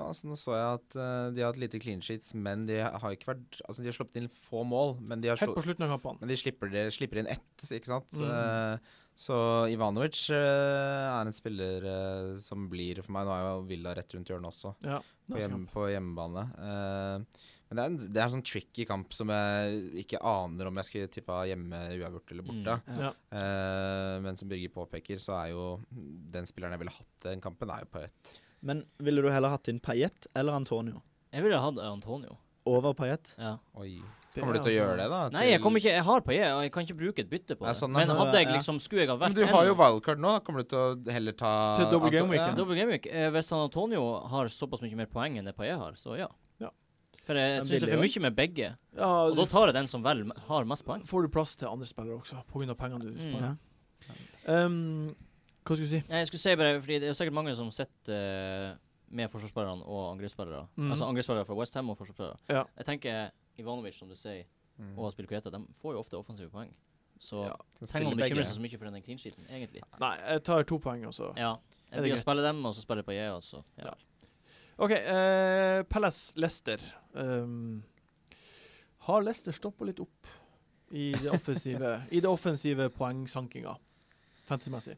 [SPEAKER 3] Altså, nå så jeg at eh, de har hatt lite clean sheets, men de har ikke vært Altså, de har sluppet inn få mål, men de, har
[SPEAKER 1] Helt
[SPEAKER 3] slå,
[SPEAKER 1] på slutten av kampene.
[SPEAKER 3] men de slipper, det- slipper inn ett, ikke sant?
[SPEAKER 1] Mm.
[SPEAKER 3] Eh, så Ivanovic eh, er en spiller eh, som blir for meg Nå er jo Villa rett rundt hjørnet også,
[SPEAKER 1] Ja,
[SPEAKER 3] på,
[SPEAKER 1] neste
[SPEAKER 3] hjem,
[SPEAKER 1] kamp.
[SPEAKER 3] på hjemmebane. Eh, men det er, en, det er en sånn tricky kamp som jeg ikke aner om jeg skulle tippa hjemme, uavgjort eller borte.
[SPEAKER 5] Mm.
[SPEAKER 1] Ja.
[SPEAKER 3] Eh, men som Birger påpeker, så er jo den spilleren jeg ville hatt den kampen, er jo på ett.
[SPEAKER 5] Men ville du heller hatt inn Payet eller Antonio?
[SPEAKER 2] Jeg ville hatt Antonio.
[SPEAKER 5] Over Payet?
[SPEAKER 2] Ja.
[SPEAKER 3] Oi.
[SPEAKER 1] Det
[SPEAKER 3] Kommer
[SPEAKER 1] er
[SPEAKER 3] du
[SPEAKER 1] altså-
[SPEAKER 3] til å gjøre det, da?
[SPEAKER 2] Nei, jeg kommer ikke Jeg har Paillet, og jeg kan ikke bruke et bytte på
[SPEAKER 3] Ja,
[SPEAKER 2] det.
[SPEAKER 3] sånn,
[SPEAKER 2] Men
[SPEAKER 3] ja.
[SPEAKER 2] hadde jeg
[SPEAKER 5] Ja.
[SPEAKER 2] liksom Skulle jeg ha
[SPEAKER 3] Men
[SPEAKER 2] vært
[SPEAKER 3] du har jo
[SPEAKER 2] Elliot-
[SPEAKER 3] wildcard nå. Kommer du til å heller ta
[SPEAKER 1] Til double
[SPEAKER 3] Anto-
[SPEAKER 1] game weekend.
[SPEAKER 3] Ja.
[SPEAKER 2] Double Game Week. Eh, Hvis han Antonio har såpass mye mer poeng enn det Paillet har, så ja.
[SPEAKER 1] Ja.
[SPEAKER 2] For jeg syns
[SPEAKER 5] Men
[SPEAKER 2] det er for
[SPEAKER 5] billig
[SPEAKER 2] mye med begge.
[SPEAKER 1] Ja,
[SPEAKER 2] Og
[SPEAKER 1] du
[SPEAKER 2] da tar jeg den som vel m- har mest poeng.
[SPEAKER 1] f- får du plass til andre spillere også, pga. pengene du
[SPEAKER 2] Mm.
[SPEAKER 1] sparer.
[SPEAKER 5] Ja.
[SPEAKER 1] Um, hva skulle du si?
[SPEAKER 2] Nei, Jeg skulle si bare, fordi det er sikkert mange som sitter eh, med forsvarsspillerne og angrepsspillere.
[SPEAKER 1] Mhm.
[SPEAKER 2] Altså angrepsspillere fra West Ham og forsvarsspillere.
[SPEAKER 1] Ja.
[SPEAKER 2] Jeg tenker Ivanovic, som du sier,
[SPEAKER 3] Mm.
[SPEAKER 2] og Aspilicueta, de får jo ofte offensive poeng. Så
[SPEAKER 1] Ja,
[SPEAKER 3] Kan
[SPEAKER 2] trenger man
[SPEAKER 3] spille
[SPEAKER 2] bekymre
[SPEAKER 3] begge.
[SPEAKER 2] seg så mye for den clean sheeten, egentlig.
[SPEAKER 1] Nei, jeg tar to poeng, altså. også.
[SPEAKER 2] Ja.
[SPEAKER 1] Er det
[SPEAKER 2] Jeg blir å
[SPEAKER 1] greit?
[SPEAKER 2] spille dem, og så spiller jeg Paillet, og så ja.
[SPEAKER 1] OK. Eh, Palace Leicester. Um, har Leicester stoppa litt opp i det offensive, i det offensive poengsankinga? Fantasy-messig.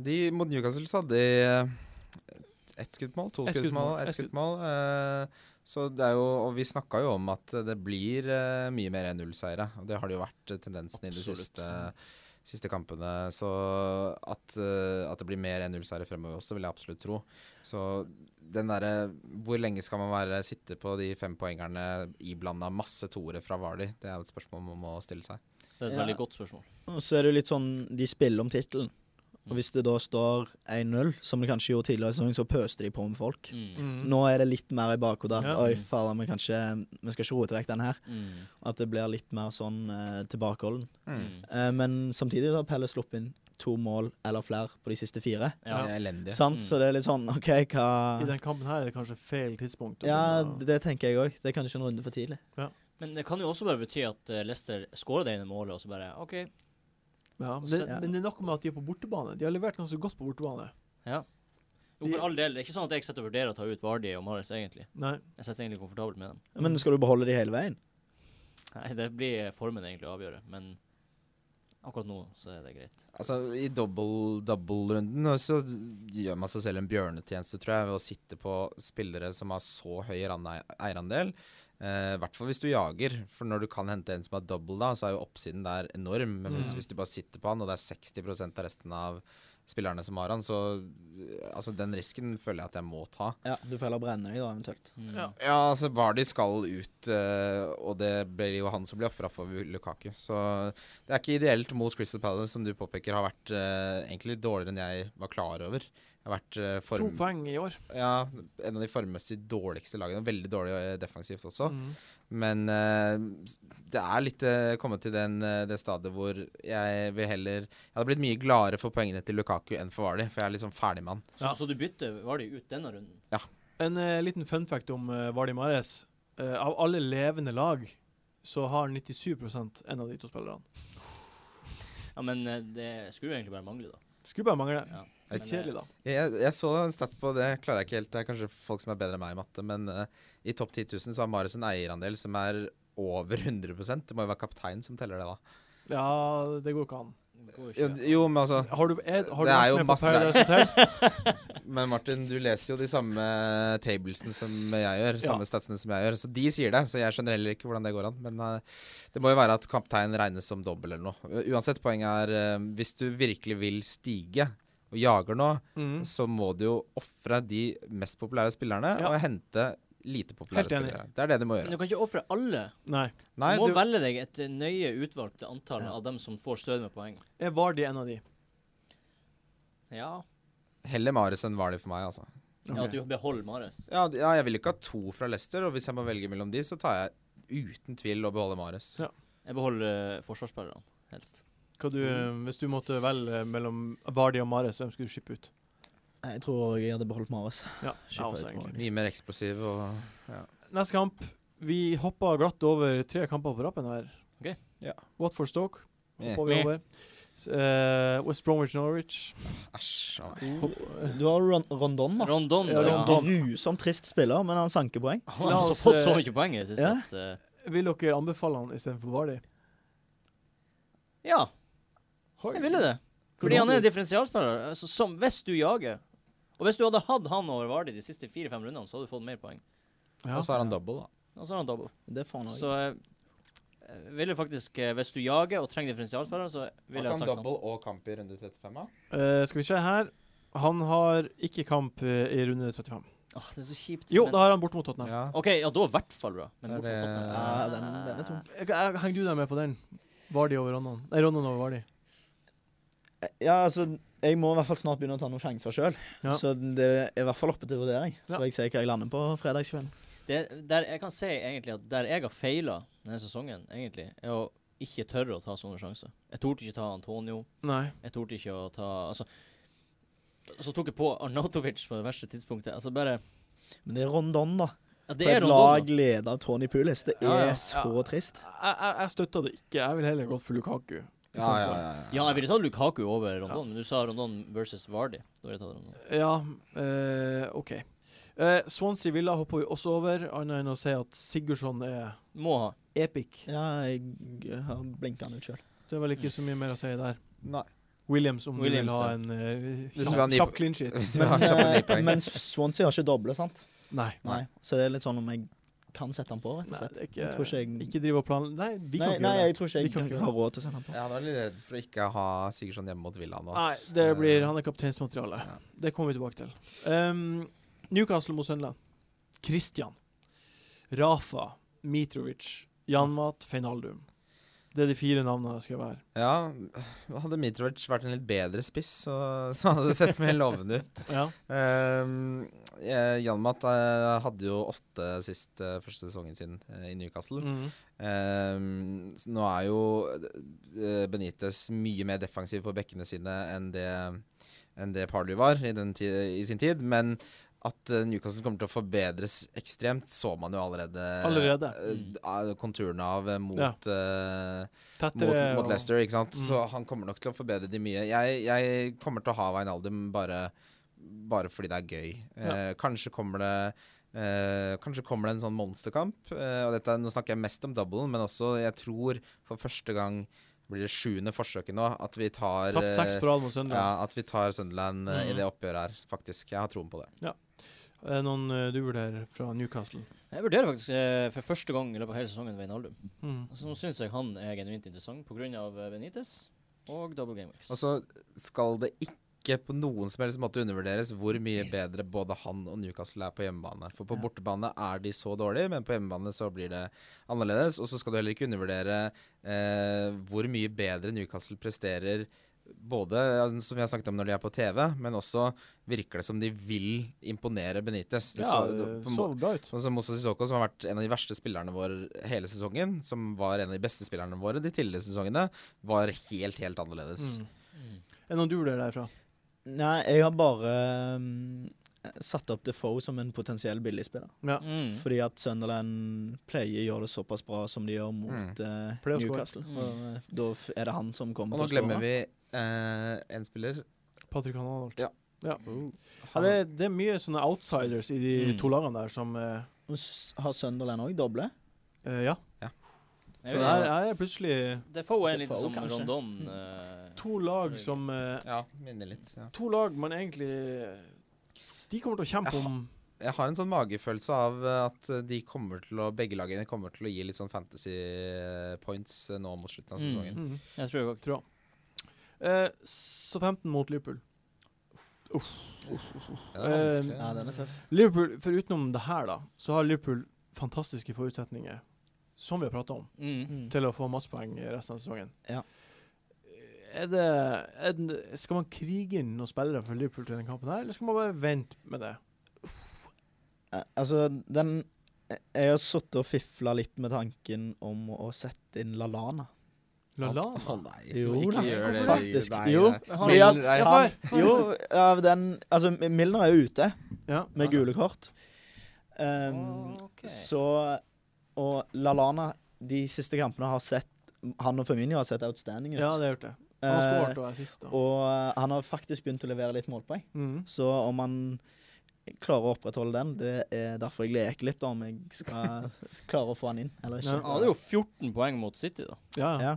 [SPEAKER 3] De mot Newcastle så hadde de eh, ett skudd på mål, to
[SPEAKER 1] Ett
[SPEAKER 3] skudd
[SPEAKER 1] skudd
[SPEAKER 3] på
[SPEAKER 1] på
[SPEAKER 3] mål,
[SPEAKER 1] mål,
[SPEAKER 3] ett
[SPEAKER 1] ett skudd.
[SPEAKER 3] skudd på mål. eh, Så det er jo Og vi snakka jo om at det blir eh, mye mer 1-0-seire, og det har det jo vært eh, tendensen i de
[SPEAKER 2] Absolutt.
[SPEAKER 3] siste siste kampene, Så at, eh, at det blir mer 1-0-seire fremover også, vil jeg absolutt tro. Så den derre Hvor lenge skal man være sitte på de fem poengerne iblanda masse toere fra Vardy? Det er jo et spørsmål man må stille seg.
[SPEAKER 2] Det er et
[SPEAKER 5] Ja.
[SPEAKER 2] veldig godt spørsmål.
[SPEAKER 5] Og så er det jo litt sånn De spiller om tittelen. Og hvis det da står 1-0, som det kanskje gjorde tidligere i sesongen, så pøste de på med folk.
[SPEAKER 2] Mm.
[SPEAKER 1] Mm.
[SPEAKER 5] Nå er det litt mer i bakhodet at
[SPEAKER 1] Ja.
[SPEAKER 5] oi, fader, vi, kan ikke, vi skal ikke rote vekk denne her.
[SPEAKER 2] Mm.
[SPEAKER 5] At det blir litt mer sånn eh, tilbakeholden.
[SPEAKER 3] Mm.
[SPEAKER 2] Mm.
[SPEAKER 5] Eh, men samtidig har Pelle sluppet inn to mål eller flere på de siste fire.
[SPEAKER 2] Ja.
[SPEAKER 3] Det er elendig.
[SPEAKER 5] Sant?
[SPEAKER 2] Mm.
[SPEAKER 5] Så det er litt sånn OK,
[SPEAKER 1] I
[SPEAKER 5] hva
[SPEAKER 1] den kampen her er det kanskje feil tidspunkt. å
[SPEAKER 5] Ja,
[SPEAKER 1] begynne å-
[SPEAKER 5] det tenker jeg òg. Det er kanskje en runde for tidlig.
[SPEAKER 2] Men det kan jo også bare bety at eh, Leicester skårer det ene målet, og så bare OK.
[SPEAKER 1] ja, men,
[SPEAKER 2] så-
[SPEAKER 1] det, men det er noe med at de er på bortebane. De har levert ganske godt på bortebane.
[SPEAKER 2] Ja. Jo, for all del. Det er ikke sånn at jeg sitter og vurderer å ta ut Vardy og Mares, egentlig.
[SPEAKER 1] Nei.
[SPEAKER 2] Jeg sitter egentlig komfortabelt med dem.
[SPEAKER 5] Mm. Men skal du beholde de hele veien?
[SPEAKER 2] Nei, det blir formen egentlig å avgjøre, men Akkurat nå så er det greit.
[SPEAKER 3] Altså, I double-runden så gjør man seg selv en bjørnetjeneste, tror jeg, ved å sitte på spillere som har så høy rande- eierandel. Eh, I hvert fall hvis du jager, for når du kan hente en som har double, da, så er jo oppsiden der enorm. Men hvis,
[SPEAKER 1] Mm.
[SPEAKER 3] hvis du bare sitter på han, og det er 60 av resten av spillerne som har han, så eh, altså, den risken føler jeg at jeg må ta.
[SPEAKER 5] Ja, du får heller brenne deg, da, eventuelt.
[SPEAKER 2] Mm.
[SPEAKER 1] Ja.
[SPEAKER 3] Ja, altså Vardy skal ut, eh, og det blir jo han som blir ofra for Lukaku. Så det er ikke ideelt mot Crystal Palace, som du påpeker har vært eh, egentlig dårligere enn jeg var klar over. Det Har vært eh,
[SPEAKER 1] To
[SPEAKER 3] form,
[SPEAKER 1] poeng i år.
[SPEAKER 3] ja, en av de formmessig dårligste lagene. Veldig dårlig eh, defensivt også.
[SPEAKER 1] Mm.
[SPEAKER 3] Men eh, det er litt eh, kommet til den, eh, det stadiet hvor jeg vil heller Jeg hadde blitt mye gladere for poengene til Lukaku enn for Vardy, for jeg er liksom ferdig med han.
[SPEAKER 2] Så,
[SPEAKER 1] Ja.
[SPEAKER 2] så du bytter Vardø ut denne runden?
[SPEAKER 1] En eh, liten fun fact om eh, Vardi Mares. Eh, av alle levende lag så har 97 en av de to spillerne.
[SPEAKER 2] Ja, men eh, det skulle jo egentlig bare mangle, da.
[SPEAKER 1] Skulle bare mangle.
[SPEAKER 2] Ja.
[SPEAKER 1] Litt kjedelig, da.
[SPEAKER 3] Jeg, jeg så en stat på det, klarer jeg ikke helt. Det er kanskje folk som er bedre enn meg i matte, men eh, i topp 10 000 så har Marius en eierandel som er over 100 Det må jo være kapteinen som teller det, da.
[SPEAKER 1] Ja, det går ikke an.
[SPEAKER 2] Det går jo
[SPEAKER 3] Jo,
[SPEAKER 2] ikke.
[SPEAKER 3] jo men altså
[SPEAKER 1] Har du, er, har du
[SPEAKER 3] Det er jo
[SPEAKER 1] vært med på
[SPEAKER 3] masse-
[SPEAKER 1] Paradise Hotel?
[SPEAKER 3] Men Martin, du leser jo de samme tablesene som jeg gjør.
[SPEAKER 1] Ja.
[SPEAKER 3] Samme statsene som jeg gjør. Så de sier det, så jeg skjønner heller ikke hvordan det går an. Men eh, det må jo være at kaptein regnes som dobbel eller noe. Uansett, poenget er eh, hvis du virkelig vil stige og jager nå,
[SPEAKER 1] Mm.
[SPEAKER 3] så må du jo ofre de mest populære spillerne
[SPEAKER 1] Ja.
[SPEAKER 3] og hente lite populære
[SPEAKER 1] Helt enig.
[SPEAKER 3] spillere. Det er det du må
[SPEAKER 2] Men
[SPEAKER 3] gjøre.
[SPEAKER 2] du kan ikke ofre alle.
[SPEAKER 1] Nei.
[SPEAKER 2] Du
[SPEAKER 3] Nei,
[SPEAKER 2] må
[SPEAKER 3] du,
[SPEAKER 2] velge deg et eh, nøye utvalgt antall
[SPEAKER 5] Ja.
[SPEAKER 2] av dem som får støt med poeng.
[SPEAKER 1] Er Vardi en av de?
[SPEAKER 2] Ja.
[SPEAKER 3] heller Marius enn Vali for meg, altså.
[SPEAKER 2] ja,
[SPEAKER 1] Ok.
[SPEAKER 2] at du beholder Mares.
[SPEAKER 3] Ja, d- ja, jeg vil ikke ha to fra Leicester, og hvis jeg må velge mellom de, så tar jeg uten tvil å beholde Marius.
[SPEAKER 1] Ja.
[SPEAKER 2] Jeg beholder eh, forsvarsspillerne, helst.
[SPEAKER 1] Hva du,
[SPEAKER 3] Mm.
[SPEAKER 1] eh, Hvis du måtte velge mellom Vardi og Mares, hvem skulle du shippe ut?
[SPEAKER 5] Nei, Jeg tror jeg hadde beholdt Mares.
[SPEAKER 1] Ja, jeg
[SPEAKER 5] Skipper
[SPEAKER 1] også,
[SPEAKER 5] ut
[SPEAKER 1] egentlig.
[SPEAKER 3] Mye mer eksplosiv og
[SPEAKER 1] Neste kamp. Vi hoppa glatt over tre kamper på rappen her.
[SPEAKER 2] Ok.
[SPEAKER 3] Ja.
[SPEAKER 1] Watford Stoke
[SPEAKER 3] Eh,
[SPEAKER 1] hoppa vi
[SPEAKER 2] Eh.
[SPEAKER 1] over. S- eh, West Bromwich Norwich.
[SPEAKER 3] Æsj. ja.
[SPEAKER 5] Du har Ron Rondon, da.
[SPEAKER 2] Rondon,
[SPEAKER 1] Ja,
[SPEAKER 2] da.
[SPEAKER 1] Rondon.
[SPEAKER 2] Han-
[SPEAKER 5] Grusomt trist spiller, men han sanker poeng.
[SPEAKER 2] Han
[SPEAKER 1] La
[SPEAKER 2] har altså
[SPEAKER 1] oss,
[SPEAKER 2] fått så
[SPEAKER 1] eh,
[SPEAKER 2] mye poeng i det siste
[SPEAKER 5] ja.
[SPEAKER 2] at eh,
[SPEAKER 1] Vil dere anbefale han istedenfor Vardi?
[SPEAKER 2] Ja, jeg ville det. Fordi han er en differensialspiller. Altså, som hvis du jager Og hvis du hadde hatt han over Vardi de siste fire-fem rundene, så hadde du fått mer poeng.
[SPEAKER 1] Ja.
[SPEAKER 3] Og så har han double, da.
[SPEAKER 2] Og så har han double.
[SPEAKER 5] Det får han også.
[SPEAKER 2] Så eh, jeg ville faktisk eh, Hvis du jager og trenger differensialspillere, så ville jeg
[SPEAKER 3] Har ikke
[SPEAKER 2] sagt
[SPEAKER 3] han
[SPEAKER 2] han.
[SPEAKER 3] double og kamp i runde 35, da?
[SPEAKER 1] Eh, skal vi se her. Han har ikke kamp eh, i runde 35.
[SPEAKER 2] Åh, det er så kjipt.
[SPEAKER 1] Jo,
[SPEAKER 2] men-
[SPEAKER 1] da har han bort mot Tottenham.
[SPEAKER 3] Ja.
[SPEAKER 2] OK, ja, da i hvert fall bra. Men
[SPEAKER 3] Er
[SPEAKER 2] bort mot
[SPEAKER 3] det-
[SPEAKER 2] Tottenham.
[SPEAKER 5] Ja, den, den er tung.
[SPEAKER 1] Jeg- jeg- Henger du deg med på den? Vardi over Ronnan? Nei, Ronnan over Vardi.
[SPEAKER 5] Ja, altså, jeg må i hvert fall snart begynne å ta noen sjanser sjøl.
[SPEAKER 1] Ja.
[SPEAKER 5] Så det er i hvert fall oppe til vurdering. Så
[SPEAKER 1] Ja.
[SPEAKER 5] får jeg se hva jeg lander på fredagskvelden.
[SPEAKER 2] Det, der, jeg kan si egentlig at der jeg har feila denne sesongen, egentlig, er å ikke tørre å ta sånne sjanser. Jeg torde ikke ta Antonio.
[SPEAKER 1] Nei.
[SPEAKER 2] Jeg torde ikke å ta Altså så tok jeg på Arnautovic på det verste tidspunktet. Altså bare
[SPEAKER 5] Men det er Rondon, da.
[SPEAKER 2] ja,
[SPEAKER 5] Det
[SPEAKER 2] Det er
[SPEAKER 5] et
[SPEAKER 2] Rondon.
[SPEAKER 5] lag ledet av Tony Pulis. Det er
[SPEAKER 1] Ja, ja.
[SPEAKER 5] så
[SPEAKER 1] Ja.
[SPEAKER 5] trist.
[SPEAKER 1] Jeg, jeg, jeg støtter det ikke. Jeg vil heller gått for Lukaku.
[SPEAKER 3] Ja, ja, ja, ja.
[SPEAKER 2] Ja, jeg ville tatt Lukaku over Rondon, men du sa Rondon versus Vardy. Da ville jeg tatt Rondon.
[SPEAKER 1] Ja, eh, OK. Eh, Swansea Villa hopper vi også over, annet enn å si at Sigurdsson er
[SPEAKER 2] Må ha.
[SPEAKER 1] epic.
[SPEAKER 5] Ja, jeg har blinka han ut sjøl.
[SPEAKER 1] Det er vel ikke så mye mer å si der.
[SPEAKER 3] Nei.
[SPEAKER 1] Williams, om
[SPEAKER 2] Williams,
[SPEAKER 1] du vil ha
[SPEAKER 2] ja.
[SPEAKER 1] en eh,
[SPEAKER 3] Hvis vi
[SPEAKER 1] kjapp,
[SPEAKER 3] har ni-
[SPEAKER 1] kjapp clean sheet.
[SPEAKER 3] Hvis du har
[SPEAKER 5] Men,
[SPEAKER 3] kjappe ni
[SPEAKER 5] eh,
[SPEAKER 3] poeng.
[SPEAKER 5] men Swansea har ikke doble, sant?
[SPEAKER 1] Nei.
[SPEAKER 5] Nei. Så det er litt sånn om jeg kan sette han på, rett og
[SPEAKER 1] Nei,
[SPEAKER 5] slett.
[SPEAKER 1] det er ikke,
[SPEAKER 5] Jeg tror ikke jeg
[SPEAKER 1] ikke drive og planlegge Nei, vi
[SPEAKER 5] Nei,
[SPEAKER 1] kan ikke
[SPEAKER 5] nei,
[SPEAKER 1] gjøre
[SPEAKER 5] jeg
[SPEAKER 1] det.
[SPEAKER 5] tror
[SPEAKER 1] Vi kan
[SPEAKER 5] ikke
[SPEAKER 1] ikke
[SPEAKER 5] jeg
[SPEAKER 1] gjøre
[SPEAKER 5] har råd til å sende han på.
[SPEAKER 3] Jeg var litt redd for å ikke ha Sigurdsson hjemme mot Villa nå.
[SPEAKER 1] Nei,
[SPEAKER 3] ass.
[SPEAKER 1] det blir,
[SPEAKER 3] Eh,
[SPEAKER 1] han er kapteinsmateriale.
[SPEAKER 3] Ja.
[SPEAKER 1] Det kommer vi tilbake til. Ehm, Newcastle mot Sunderland. Christian. Rafa. Mitrovic. Janmat. Feinaldum. Det er de fire navnene jeg skrev her.
[SPEAKER 3] Ja, øh, hadde Mitrovic vært en litt bedre spiss, så, så hadde det sett mer lovende ut.
[SPEAKER 1] Ja.
[SPEAKER 3] Um, eh, Janmat eh, hadde jo åtte sist eh, første sesongen sin eh, i Newcastle.
[SPEAKER 1] Mm.
[SPEAKER 3] Um, så nå er jo eh, Benitez mye mer defensiv på bekkene sine enn det, enn det Pardew var i, den ti i sin tid. Men at eh, Newcastle kommer til å forbedres ekstremt, så man jo allerede.
[SPEAKER 1] Allerede. Mm.
[SPEAKER 3] eh, d- av konturene av eh, mot
[SPEAKER 1] Ja.
[SPEAKER 3] eh,
[SPEAKER 1] Tettere
[SPEAKER 3] mot, mot
[SPEAKER 1] og-
[SPEAKER 3] Leicester, ikke sant?
[SPEAKER 1] Mm.
[SPEAKER 3] Så han kommer nok til å forbedre de mye. Jeg, jeg kommer til å ha Wijnaldum bare, bare fordi det er gøy. Eh, kanskje kommer det eh, kanskje kommer det en sånn monsterkamp. Eh, og dette, nå snakker jeg mest om doublen, men også jeg tror for første gang blir det sjuende forsøket nå at vi tar
[SPEAKER 1] Tapt seks
[SPEAKER 3] eh,
[SPEAKER 1] på rad mot Sunderland.
[SPEAKER 3] ja, at vi tar Sunderland eh, i
[SPEAKER 1] Mhm.
[SPEAKER 3] det oppgjøret her, faktisk. Jeg har troen på det.
[SPEAKER 1] Er det noen eh, du vurderer fra Newcastle?
[SPEAKER 2] Jeg vurderer faktisk eh, for første gang i løpet av hele sesongen Veinaldum.
[SPEAKER 1] Mm.
[SPEAKER 2] Altså, nå syns jeg han er genuint interessant pga. eh, Benitez og Double Game Weeks.
[SPEAKER 3] Og
[SPEAKER 1] Altså,
[SPEAKER 3] så Altså, skal det ikke på noen som helst måte undervurderes hvor mye bedre både han og Newcastle er på hjemmebane. For på
[SPEAKER 5] Ja.
[SPEAKER 3] bortebane er de så dårlige, men på hjemmebane så blir det annerledes. Og så skal du heller ikke undervurdere eh, hvor mye bedre Newcastle presterer både altså, som vi har snakket om når de er på TV, men også virker det som de vil imponere Benitez. Det
[SPEAKER 1] Ja,
[SPEAKER 3] så-
[SPEAKER 1] det
[SPEAKER 3] på en
[SPEAKER 1] så
[SPEAKER 3] må-
[SPEAKER 1] bra ut.
[SPEAKER 3] Sånn som Moussa Sissoko, som har vært en av de verste spillerne våre hele sesongen, som var en av de beste spillerne våre de tidligere sesongene, var helt, helt annerledes.
[SPEAKER 1] Mm. Er det noen du vurderer derfra?
[SPEAKER 5] Nei, jeg har bare mm, satt opp Defoe som en potensiell billigspiller.
[SPEAKER 1] Ja.
[SPEAKER 2] Mm.
[SPEAKER 5] Fordi at Sunderland pleier å gjøre det såpass bra som de gjør mot eh,
[SPEAKER 1] Pleier å score.
[SPEAKER 5] Newcastle.
[SPEAKER 2] Mm.
[SPEAKER 5] Og, eh, da f- er det han som
[SPEAKER 3] Og
[SPEAKER 5] kommer
[SPEAKER 3] nå
[SPEAKER 5] til å
[SPEAKER 3] glemmer
[SPEAKER 5] skåre.
[SPEAKER 3] vi eh, en spiller.
[SPEAKER 1] Patrick han Arnold.
[SPEAKER 3] Ja.
[SPEAKER 1] Ja. Ja, det, det er mye sånne outsiders i de
[SPEAKER 2] Mm.
[SPEAKER 1] to lagene der som eh,
[SPEAKER 5] Og s- Har Sunderland òg doble?
[SPEAKER 1] eh, Ja. Så
[SPEAKER 2] Jeg
[SPEAKER 1] det
[SPEAKER 2] vet
[SPEAKER 1] her
[SPEAKER 2] ikke.
[SPEAKER 1] her er plutselig
[SPEAKER 2] Defoe er litt
[SPEAKER 5] Defoe,
[SPEAKER 2] som
[SPEAKER 5] kanskje.
[SPEAKER 2] sånn Rondon.
[SPEAKER 1] to lag som eh,
[SPEAKER 3] Ja, minner litt. Ja.
[SPEAKER 1] To lag man egentlig eh, De kommer til å kjempe om
[SPEAKER 3] Jeg har en sånn magefølelse av eh, at de kommer til å, begge lagene kommer til å gi litt sånn fantasy points eh, nå mot slutten av
[SPEAKER 2] Mm.
[SPEAKER 3] sesongen.
[SPEAKER 1] mm,
[SPEAKER 2] eh, jeg tror jeg
[SPEAKER 1] Tror jeg. Eh, så 15 mot Liverpool.
[SPEAKER 3] Det er vanskelig.
[SPEAKER 5] Eh, Ja, den er tøff.
[SPEAKER 1] Liverpool, for utenom det her, da, så har Liverpool fantastiske forutsetninger, som vi har prata om,
[SPEAKER 2] òg.
[SPEAKER 5] Mm.
[SPEAKER 1] til å få masse poeng i resten av sesongen.
[SPEAKER 5] Ja.
[SPEAKER 1] Er det, er det, skal man krige inn noen spillere for Liverpool til den kampen her, eller skal man bare vente med det?
[SPEAKER 5] Eh, Altså, den Jeg har sittet og fifla litt med tanken om å sette inn LaLana.
[SPEAKER 1] La-la?
[SPEAKER 3] Å nei,
[SPEAKER 5] Jo da,
[SPEAKER 3] ikke gjør det.
[SPEAKER 5] faktisk.
[SPEAKER 3] Nei,
[SPEAKER 5] Jo.
[SPEAKER 3] nei.
[SPEAKER 2] Han-
[SPEAKER 3] Mil-
[SPEAKER 5] han-
[SPEAKER 3] nei,
[SPEAKER 1] Ja,
[SPEAKER 3] han-
[SPEAKER 5] Jo, av den Altså, Milner er jo ute
[SPEAKER 1] Ja.
[SPEAKER 5] med gule kort. Um,
[SPEAKER 2] Ok.
[SPEAKER 5] Så Og LaLana, de siste kampene har sett Han og Firmino har sett outstanding ut.
[SPEAKER 1] ja, det har jeg gjort. det. Han har
[SPEAKER 5] Eh,
[SPEAKER 1] skåret og er sist, da.
[SPEAKER 5] Og eh, han har faktisk begynt å levere litt målpoeng.
[SPEAKER 1] Mm.
[SPEAKER 5] Så om han klarer å opprettholde den, det er derfor jeg leker litt om jeg skal klare å få han inn eller
[SPEAKER 2] Han
[SPEAKER 5] ikke.
[SPEAKER 2] hadde jo 14 poeng mot City, da.
[SPEAKER 1] Ja, ja.
[SPEAKER 5] Ja.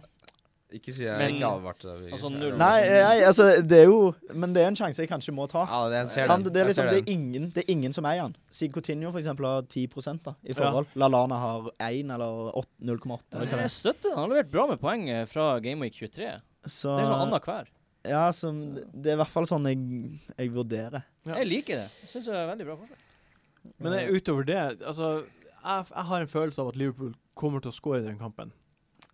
[SPEAKER 3] Ikke si jeg eh,
[SPEAKER 2] Men-
[SPEAKER 3] ikke advarte deg. Birger.
[SPEAKER 2] Altså, null.
[SPEAKER 5] Nei, nei, altså, det er jo Men det er en sjanse jeg kanskje må ta.
[SPEAKER 3] Ja, det, jeg ser
[SPEAKER 5] Sant?
[SPEAKER 3] den.
[SPEAKER 5] det, er
[SPEAKER 3] Jeg
[SPEAKER 5] liksom,
[SPEAKER 3] ser
[SPEAKER 5] det,
[SPEAKER 3] den.
[SPEAKER 5] er ingen, det er ingen som eier han. Siden Coutinho for eksempel har 10 da, i forhold. LaLana har 1 eller åt- 0,8. eller hva
[SPEAKER 2] Men
[SPEAKER 5] det
[SPEAKER 2] jeg støtter det. Han har levert bra med poeng eh, fra Game Week 23.
[SPEAKER 5] er. Så,
[SPEAKER 2] Det er sånn annet hver.
[SPEAKER 5] ja, så det er i hvert fall sånn jeg, jeg vurderer.
[SPEAKER 1] Ja.
[SPEAKER 2] Jeg liker det. Jeg synes det er veldig bra forslag.
[SPEAKER 1] Men eh, utover det Altså, jeg, jeg har en følelse av at Liverpool kommer til å skåre i den kampen.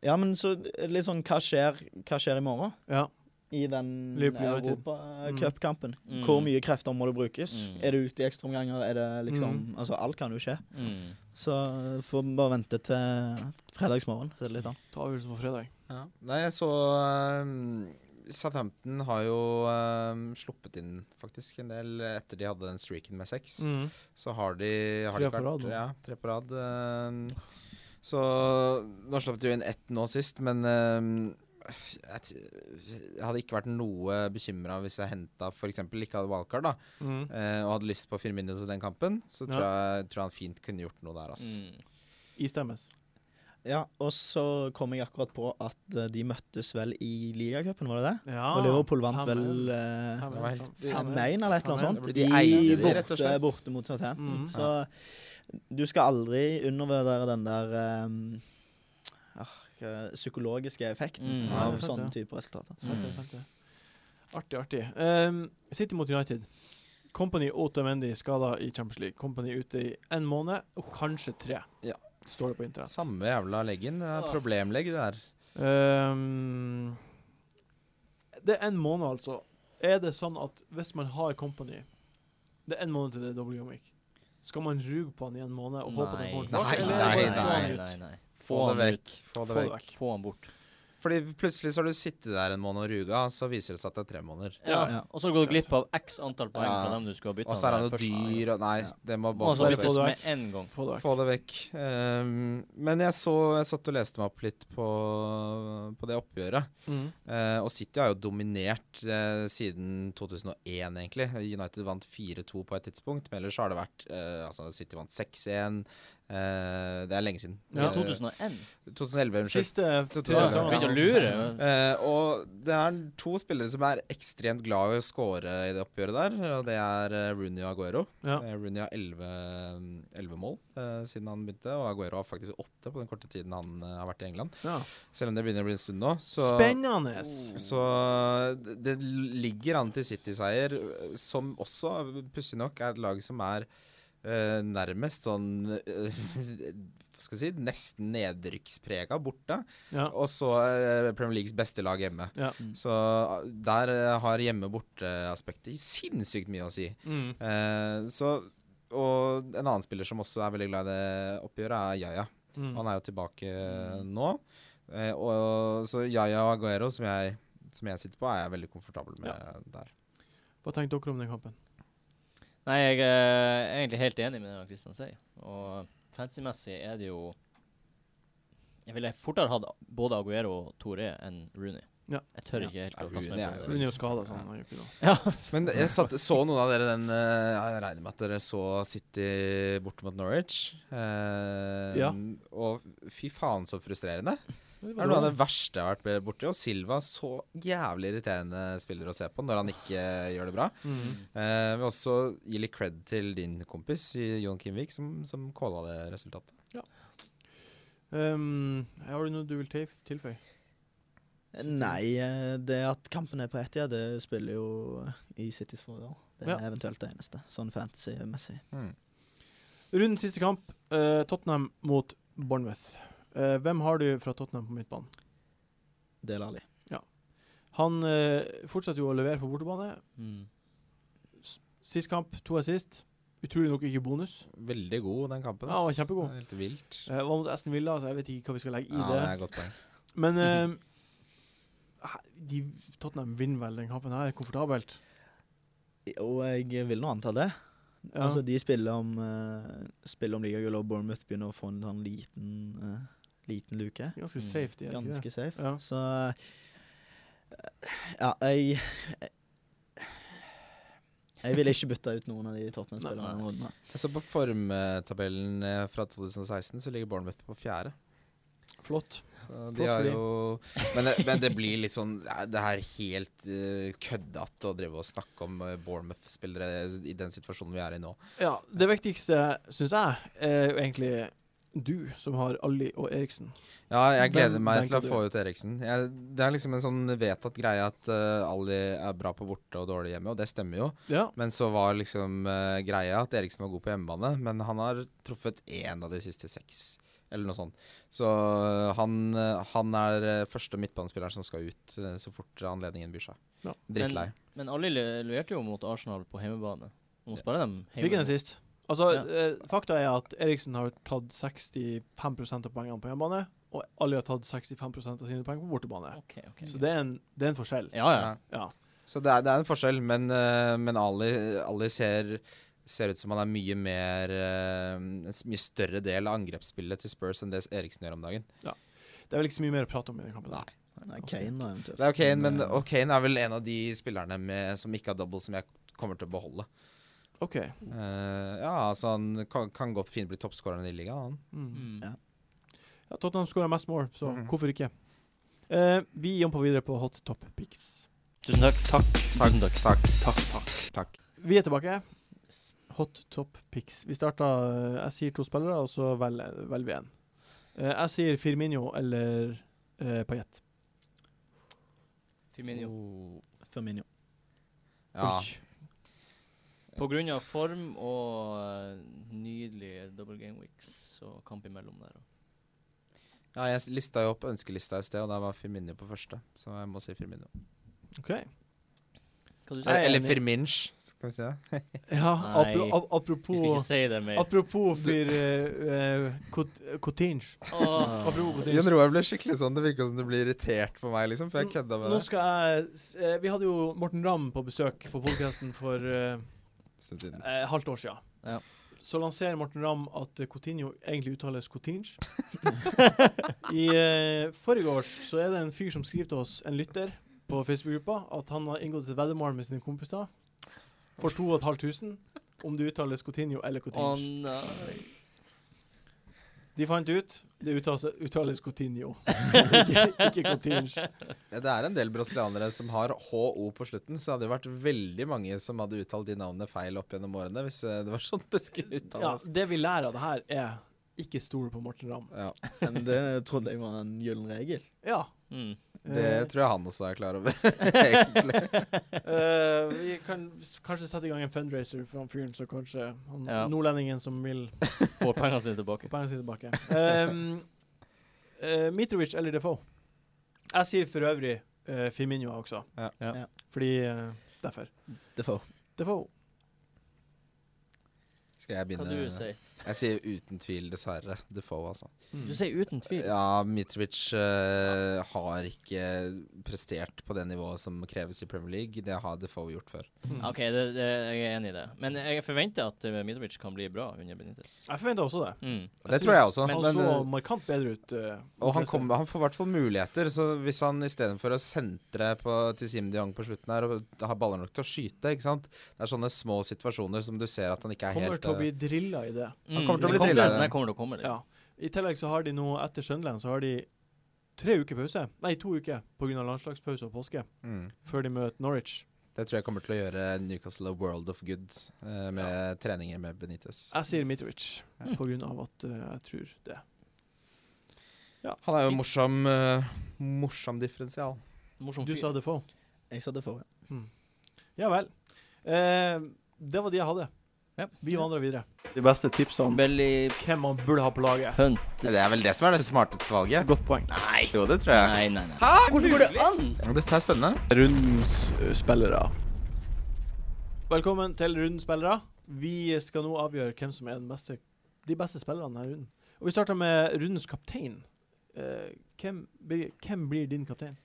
[SPEAKER 5] Ja, men så litt sånn Hva skjer, hva skjer i morgen?
[SPEAKER 1] Ja.
[SPEAKER 5] I den
[SPEAKER 1] Liverpool United.
[SPEAKER 5] europacupkampen.
[SPEAKER 2] Mm.
[SPEAKER 5] Hvor mye krefter må det brukes?
[SPEAKER 2] Mm.
[SPEAKER 5] Er det ute i ekstraomganger? Er det liksom Altså, alt kan jo skje.
[SPEAKER 2] Mm.
[SPEAKER 5] Så får vi bare vente til fredagsmorgen. Så er det litt annet.
[SPEAKER 1] Ta avgjørelsen på fredag.
[SPEAKER 3] Ja. Nei, jeg så um, Southampton har jo um, sluppet inn faktisk en del eh, etter de hadde den streaken med seks.
[SPEAKER 5] Mm.
[SPEAKER 3] Så har de har
[SPEAKER 1] Tre
[SPEAKER 3] de ikke
[SPEAKER 1] på rad
[SPEAKER 3] vært-
[SPEAKER 1] nå.
[SPEAKER 3] Ja, tre på rad. Um, så nå slapp de jo inn ett nå sist, men um, jeg, t- jeg hadde ikke vært noe bekymra hvis jeg henta f.eks. ikke hadde wildcard da,
[SPEAKER 1] Mm.
[SPEAKER 3] eh, og hadde lyst på Firmino til den kampen. Så
[SPEAKER 1] Ja.
[SPEAKER 3] tror, jeg, tror jeg han fint kunne gjort noe der. Altså.
[SPEAKER 2] Mm.
[SPEAKER 1] Istemmes.
[SPEAKER 5] Ja, og så kom jeg akkurat på at eh, de møttes vel i ligacupen, var det det?
[SPEAKER 1] Ja.
[SPEAKER 5] og Liverpool vant
[SPEAKER 1] 5-1.
[SPEAKER 5] vel eh,
[SPEAKER 1] 5-1,
[SPEAKER 3] Det var helt-
[SPEAKER 1] sant.
[SPEAKER 5] 5-1 eller et eller
[SPEAKER 1] 5-1,
[SPEAKER 5] annet sånt.
[SPEAKER 3] det
[SPEAKER 5] I
[SPEAKER 3] blir- de eide de, rett og
[SPEAKER 5] borte,
[SPEAKER 3] slett.
[SPEAKER 5] borte mot Southampton.
[SPEAKER 1] Mm.
[SPEAKER 5] Så du skal aldri undervurdere den der eh, ah, hva- psykologiske effekten
[SPEAKER 2] Mm.
[SPEAKER 1] Ja,
[SPEAKER 5] av
[SPEAKER 1] det er sant,
[SPEAKER 5] sånne
[SPEAKER 1] det.
[SPEAKER 5] typer resultater.
[SPEAKER 1] Sant det,
[SPEAKER 2] Mm.
[SPEAKER 1] sant det. Artig, artig. Um, City mot United. Company Otamendi skada i Champions League. Company ute i en måned, og kanskje tre,
[SPEAKER 3] Ja.
[SPEAKER 1] står det på internett.
[SPEAKER 3] Samme jævla leggen. Det er
[SPEAKER 2] Ja.
[SPEAKER 3] problemlegg, det der.
[SPEAKER 1] Ehm, det er en måned, altså. Er det sånn at hvis man har Company Det er en måned til det er double game week. Skal man ruge på han i en måned og håpe at han kommer
[SPEAKER 3] Nei,
[SPEAKER 1] tilbake?
[SPEAKER 3] nei,
[SPEAKER 1] eller bare få
[SPEAKER 3] nei,
[SPEAKER 1] han ut?
[SPEAKER 3] Få
[SPEAKER 2] Få
[SPEAKER 3] det
[SPEAKER 2] han
[SPEAKER 3] vekk. Få
[SPEAKER 1] Få
[SPEAKER 3] det
[SPEAKER 1] det
[SPEAKER 3] vekk.
[SPEAKER 2] Få han bort.
[SPEAKER 3] Fordi plutselig så har du sittet der en måned og ruga, så viser det seg at det er tre måneder.
[SPEAKER 2] Ja.
[SPEAKER 5] Ja.
[SPEAKER 2] Og så går du glipp av x antall poeng
[SPEAKER 3] Ja.
[SPEAKER 2] fra dem du skulle ha bytta
[SPEAKER 3] Og så er han jo dyr og Nei,
[SPEAKER 5] Ja.
[SPEAKER 3] det må
[SPEAKER 2] Og
[SPEAKER 3] bare
[SPEAKER 2] så
[SPEAKER 3] få
[SPEAKER 2] er
[SPEAKER 3] det
[SPEAKER 2] det
[SPEAKER 1] få
[SPEAKER 3] vekk.
[SPEAKER 1] det
[SPEAKER 2] med en gang.
[SPEAKER 1] Få det vekk.
[SPEAKER 3] Få det vekk. Ehm, men jeg så Jeg satt og leste meg opp litt på, på det oppgjøret.
[SPEAKER 1] Mm.
[SPEAKER 3] Eh, og City har jo dominert eh, siden 2001, egentlig. United vant 4-2 på et tidspunkt, men ellers har det vært eh, altså City vant 6-1. Eh, det er lenge siden. Eh,
[SPEAKER 1] Ja.
[SPEAKER 2] Siden 2001.
[SPEAKER 3] 2011, unnskyld.
[SPEAKER 1] Siste
[SPEAKER 3] To- to-
[SPEAKER 1] tre
[SPEAKER 3] Ja.
[SPEAKER 2] Begynte å
[SPEAKER 1] sesonger.
[SPEAKER 2] lure. men-
[SPEAKER 3] Eh, og det er to spillere som er ekstremt glad i å score i det oppgjøret der, og det er eh, Rooney og Aguero.
[SPEAKER 1] Ja.
[SPEAKER 3] Eh, Rooney har 11, 11 mål eh, siden han begynte, og Aguero har faktisk 8 på den korte tiden han eh, har vært i England.
[SPEAKER 1] Ja.
[SPEAKER 3] Selv om det begynner å bli en stund nå. Så,
[SPEAKER 1] Spennende!
[SPEAKER 3] så det det ligger an til City-seier, eh, som også, pussig nok, er et lag som er eh, nærmest sånn eh, Hva skal jeg si? Nesten nedrykksprega borte.
[SPEAKER 1] Ja.
[SPEAKER 3] Og så eh, Premier Leagues beste lag hjemme.
[SPEAKER 1] Ja.
[SPEAKER 3] Så ah, der eh, har hjemme-borte-aspektet sinnssykt mye å si.
[SPEAKER 1] Mm.
[SPEAKER 3] Eh, så, og en annen spiller som også er veldig glad i det oppgjøret, er Yaya.
[SPEAKER 1] Mm.
[SPEAKER 3] Han er jo tilbake nå. Eh, og, så Yaya og Aguero, som jeg, som jeg sitter på, er jeg veldig komfortabel med der.
[SPEAKER 1] Hva tenkte dere om den kampen?
[SPEAKER 2] Nei, jeg eh, er egentlig helt enig med det Kristian sier. Og fancy-messig er det jo Jeg ville fortere hatt både Aguero og Toré enn Rooney.
[SPEAKER 1] Ja.
[SPEAKER 2] Jeg tør
[SPEAKER 3] Ja.
[SPEAKER 2] ikke helt
[SPEAKER 3] Ja,
[SPEAKER 2] å kaste
[SPEAKER 3] Rooney
[SPEAKER 2] meg
[SPEAKER 3] er jo
[SPEAKER 2] på det.
[SPEAKER 1] Hun er jo skada, sånn. han gjør ikke noe.
[SPEAKER 2] Ja.
[SPEAKER 3] Men jeg satt, så noen av dere den eh, Jeg regner med at dere så City borte mot Norwich. Eh,
[SPEAKER 1] Ja.
[SPEAKER 3] Og fy faen, så frustrerende.
[SPEAKER 1] Men
[SPEAKER 3] Det er noe av det verste jeg har vært borti. Og Silva, så jævlig irriterende spiller å se på når han ikke gjør det bra.
[SPEAKER 1] Mm.
[SPEAKER 3] Eh, vil også gi litt cred til din kompis Jon Kimvik, som, som calla det resultatet.
[SPEAKER 1] Um, har du noe du vil til- tilføye?
[SPEAKER 5] Nei, eh, det at kampen er på ett, ja, det spiller jo i Citys fordel. Det
[SPEAKER 1] Ja.
[SPEAKER 5] er eventuelt det eneste, sånn fantasy-messig.
[SPEAKER 1] Hmm. Rundens siste kamp, eh, Tottenham mot Bournemouth. Eh, hvem har du fra Tottenham på midtbanen?
[SPEAKER 5] Del Ali.
[SPEAKER 1] Han eh, fortsetter jo å levere på bortebane.
[SPEAKER 2] Mm.
[SPEAKER 1] Sist kamp, to assist. Utrolig nok ikke bonus.
[SPEAKER 3] Veldig god, den kampen.
[SPEAKER 1] Ja, han var
[SPEAKER 3] ass.
[SPEAKER 1] kjempegod.
[SPEAKER 3] Det er Helt vilt.
[SPEAKER 1] Eh, var mot Aston Villa, så jeg vet ikke hva vi skal legge i
[SPEAKER 3] Ja, det
[SPEAKER 1] det.
[SPEAKER 3] er et godt poeng.
[SPEAKER 1] Men eh, de, Tottenham vinner vel den kampen her komfortabelt.
[SPEAKER 5] Og jeg vil nå anta det.
[SPEAKER 1] Ja.
[SPEAKER 5] Altså, de spiller om, uh, spiller om ligagull, og Bournemouth begynner å få en sånn liten, eh, liten luke.
[SPEAKER 1] Ganske
[SPEAKER 2] Mm,
[SPEAKER 1] safe, de er ikke det?
[SPEAKER 5] Ganske safe.
[SPEAKER 1] Ja.
[SPEAKER 5] Så eh, ja, jeg Jeg ville ikke bytta ut noen av de Tottenham-spillerne.
[SPEAKER 2] Nei,
[SPEAKER 5] denne runden her.
[SPEAKER 3] Så på formtabellen eh, fra 2016 så ligger Bournemouth på fjerde.
[SPEAKER 1] Flott.
[SPEAKER 3] Så
[SPEAKER 1] Flott
[SPEAKER 3] de
[SPEAKER 1] for
[SPEAKER 3] har
[SPEAKER 1] de.
[SPEAKER 3] jo men det, men det blir litt sånn ja, Det er helt uh, køddete å drive og snakke om eh, Bournemouth-spillere i den situasjonen vi er i nå.
[SPEAKER 1] Ja, det viktigste, syns jeg, er jo egentlig du, som har Alli og Eriksen.
[SPEAKER 3] Ja, jeg gleder
[SPEAKER 1] Hvem
[SPEAKER 3] meg til å
[SPEAKER 1] tenker
[SPEAKER 3] få ut Eriksen. Jeg, det er liksom en sånn vedtatt greie at eh, Ali er bra på borte og dårlig hjemme, og det stemmer jo.
[SPEAKER 1] Ja.
[SPEAKER 3] Men så var liksom eh, greia at Eriksen var god på hjemmebane, men han har truffet én av de siste seks, eller noe sånt. Så eh, han, eh, han er eh, første midtbanespilleren som skal ut eh, så fort anledningen byr seg.
[SPEAKER 1] Ja.
[SPEAKER 3] Drittlei.
[SPEAKER 2] Men alle le- leverte jo mot Arsenal på hjemmebane. Nå spiller de
[SPEAKER 1] Fikk en
[SPEAKER 2] hjemme.
[SPEAKER 1] sist. Altså,
[SPEAKER 2] Ja.
[SPEAKER 1] eh, fakta er at Eriksen har tatt 65 av poengene på hjemmebane, og Alli har tatt 65 av sine poeng på bortebane.
[SPEAKER 2] Ok, ok.
[SPEAKER 1] Så det er en, det er en forskjell.
[SPEAKER 2] Ah, Ja, ja.
[SPEAKER 3] Ja.
[SPEAKER 1] Ja.
[SPEAKER 3] Så det er, det er en forskjell, men, eh, men Ali, Ali ser, ser ut som han er mye mer eh, En s- mye større del av angrepsspillet til Spurs enn det Eriksen gjør om dagen.
[SPEAKER 1] Det er vel ikke så mye mer å prate om i den kampen.
[SPEAKER 3] Nei.
[SPEAKER 5] Nei, eh, Kane da, eventuelt.
[SPEAKER 3] Det er Kane, men
[SPEAKER 5] eh,
[SPEAKER 3] og Kane er vel en av de spillerne med, som ikke har double, som jeg kommer til å beholde.
[SPEAKER 1] OK.
[SPEAKER 3] Eh, ja, altså Han kan, kan godt fint bli toppskåreren i ligaen, han.
[SPEAKER 1] Mm.
[SPEAKER 2] Mm.
[SPEAKER 5] Ja.
[SPEAKER 1] Ja, Tottenham skåra mest mål, så
[SPEAKER 3] Mhm.
[SPEAKER 1] hvorfor ikke? Eh, vi jumper videre på hot top picks.
[SPEAKER 2] Tusen takk. Takk. Tusen takk.
[SPEAKER 3] Takk.
[SPEAKER 1] Vi er tilbake. Hot top picks. Vi starta Jeg sier to spillere, og så velger velger vi én. jeg sier Firmino eller uh, Paillette.
[SPEAKER 2] Firmino.
[SPEAKER 5] Firmino.
[SPEAKER 3] Ja,
[SPEAKER 1] Oi.
[SPEAKER 2] På grunn av form og eh, nydelige double game weeks og kamp imellom der.
[SPEAKER 3] ja, jeg s- lista jo opp ønskelista i sted, og der var Firmino på første. Så jeg må si Firmino.
[SPEAKER 1] OK.
[SPEAKER 2] Hva
[SPEAKER 1] Nei,
[SPEAKER 2] du sier?
[SPEAKER 3] Eller, eller
[SPEAKER 1] enig.
[SPEAKER 3] Firminch, skal vi si det.
[SPEAKER 1] Ja,
[SPEAKER 2] Nei.
[SPEAKER 1] apro ap
[SPEAKER 2] Vi skal ikke
[SPEAKER 1] apropos
[SPEAKER 2] si det mer.
[SPEAKER 1] Apropos for eh, eh, Cot- Coutinho.
[SPEAKER 2] Åh.
[SPEAKER 1] Apropos Coutinho.
[SPEAKER 3] Jon Roar ble skikkelig sånn Det virka som du ble irritert på meg, liksom, for jeg kødda med
[SPEAKER 1] Nå
[SPEAKER 3] det.
[SPEAKER 1] skal jeg s- eh, Vi hadde jo Morten Ramm på besøk på podkasten for eh,
[SPEAKER 3] Stund siden.
[SPEAKER 1] eh, halvt år siden.
[SPEAKER 2] Ja.
[SPEAKER 1] Så lanserer Morten Ramm at eh, Coutinho egentlig uttales Coutinge. I eh, forrige års så er det en fyr som skriver til oss, en lytter på Facebook-gruppa, at han har inngått et veddemål med sine kompiser for 2500 om det uttales Coutinho eller
[SPEAKER 2] Å
[SPEAKER 1] Coutinge.
[SPEAKER 2] nei.
[SPEAKER 1] De fant ut Det uttales, uttales Coutinho. ikke, ikke Coutinho.
[SPEAKER 3] Det er en del brasilianere som har HO på slutten, så det hadde jo vært veldig mange som hadde uttalt de navnene feil opp gjennom årene, hvis eh, det var sånn det skulle
[SPEAKER 1] Ja,
[SPEAKER 3] uttales.
[SPEAKER 1] det vi lærer av det her, er ikke stol på Morten Ramm.
[SPEAKER 3] Ja.
[SPEAKER 5] Men det trodde jeg var en gyllen regel.
[SPEAKER 1] Ja.
[SPEAKER 2] Mm.
[SPEAKER 3] Det tror jeg han også er klar over, egentlig.
[SPEAKER 1] Eh, vi kan s- kanskje sette i gang en fundraiser for han fyren som kanskje han,
[SPEAKER 2] Ja.
[SPEAKER 1] Nordlendingen som vil
[SPEAKER 2] Får pengene sine tilbake.
[SPEAKER 1] få pengene sine tilbake. Um, eh, Mitrovic eller Defoe? Jeg sier for øvrig eh, Firmino også.
[SPEAKER 3] Ja.
[SPEAKER 2] Ja.
[SPEAKER 5] Ja.
[SPEAKER 1] Fordi eh, Derfor.
[SPEAKER 5] Det får.
[SPEAKER 1] Defoe.
[SPEAKER 3] Skal jeg
[SPEAKER 2] Hva
[SPEAKER 3] begynne?
[SPEAKER 2] du sier
[SPEAKER 3] Jeg sier uten tvil, dessverre, Defoe, altså.
[SPEAKER 2] du? sier uten tvil.
[SPEAKER 3] Ja, Mitrovic eh, har ikke prestert på det nivået som kreves i Premier League. Det har Defoe gjort før.
[SPEAKER 1] Mm.
[SPEAKER 2] OK, det, det, jeg er enig i det. Men jeg forventer at eh, Mitrovic kan bli bra under Benitez.
[SPEAKER 1] Jeg forventa også det.
[SPEAKER 2] Mm.
[SPEAKER 3] Det tror jeg også.
[SPEAKER 2] Men-
[SPEAKER 1] Han
[SPEAKER 3] men,
[SPEAKER 1] så
[SPEAKER 3] eh,
[SPEAKER 1] markant bedre ut. eh,
[SPEAKER 3] og han,
[SPEAKER 1] forresten.
[SPEAKER 3] kom, han får i hvert fall muligheter. Så hvis han istedenfor å sentre på, til Sim de Jong på slutten her, og har baller nok til å skyte ikke sant? Det er sånne små situasjoner som du ser at han ikke er
[SPEAKER 1] kommer
[SPEAKER 3] helt
[SPEAKER 1] til å
[SPEAKER 3] eh,
[SPEAKER 1] bli drilla i det.
[SPEAKER 2] Mm.
[SPEAKER 3] kommer til å
[SPEAKER 2] men
[SPEAKER 3] bli drillet,
[SPEAKER 2] konferansen
[SPEAKER 3] det.
[SPEAKER 2] her kommer til å komme.
[SPEAKER 1] Ja. I tillegg så har de nå, etter Sunderland, så har de tre uker pause. Nei, to uker pga. landslagspause og påske,
[SPEAKER 3] mm.
[SPEAKER 1] før de møter Norwich.
[SPEAKER 3] Det tror jeg kommer til å gjøre Newcastle a world of good eh, med treninger med Benitez.
[SPEAKER 1] Jeg sier Mitrovic pga. at eh, jeg tror det.
[SPEAKER 3] Han er jo en morsom, eh, morsom differensial.
[SPEAKER 2] Morsom
[SPEAKER 1] Du
[SPEAKER 2] fyr.
[SPEAKER 1] sa det få.
[SPEAKER 5] Jeg sa det får.
[SPEAKER 1] Ja vel. Eh, det var de jeg hadde.
[SPEAKER 2] Ja.
[SPEAKER 1] Vi vandrer videre. De beste tipsene om
[SPEAKER 2] Belly
[SPEAKER 1] hvem man burde ha på laget.
[SPEAKER 2] Hunt.
[SPEAKER 3] Det er vel det som er det smarteste valget.
[SPEAKER 1] Godt poeng.
[SPEAKER 3] Nei. Jo, det tror jeg.
[SPEAKER 2] Nei, nei, nei. Hæ? Hvordan går det an?
[SPEAKER 3] Dette er spennende.
[SPEAKER 1] Rundens eh, spillere. Velkommen til Rundens spillere. Vi skal nå avgjøre hvem som er den beste, de beste spillerne denne runden. Og Vi starter med rundens kaptein. Eh, hvem, blir, hvem blir din kaptein?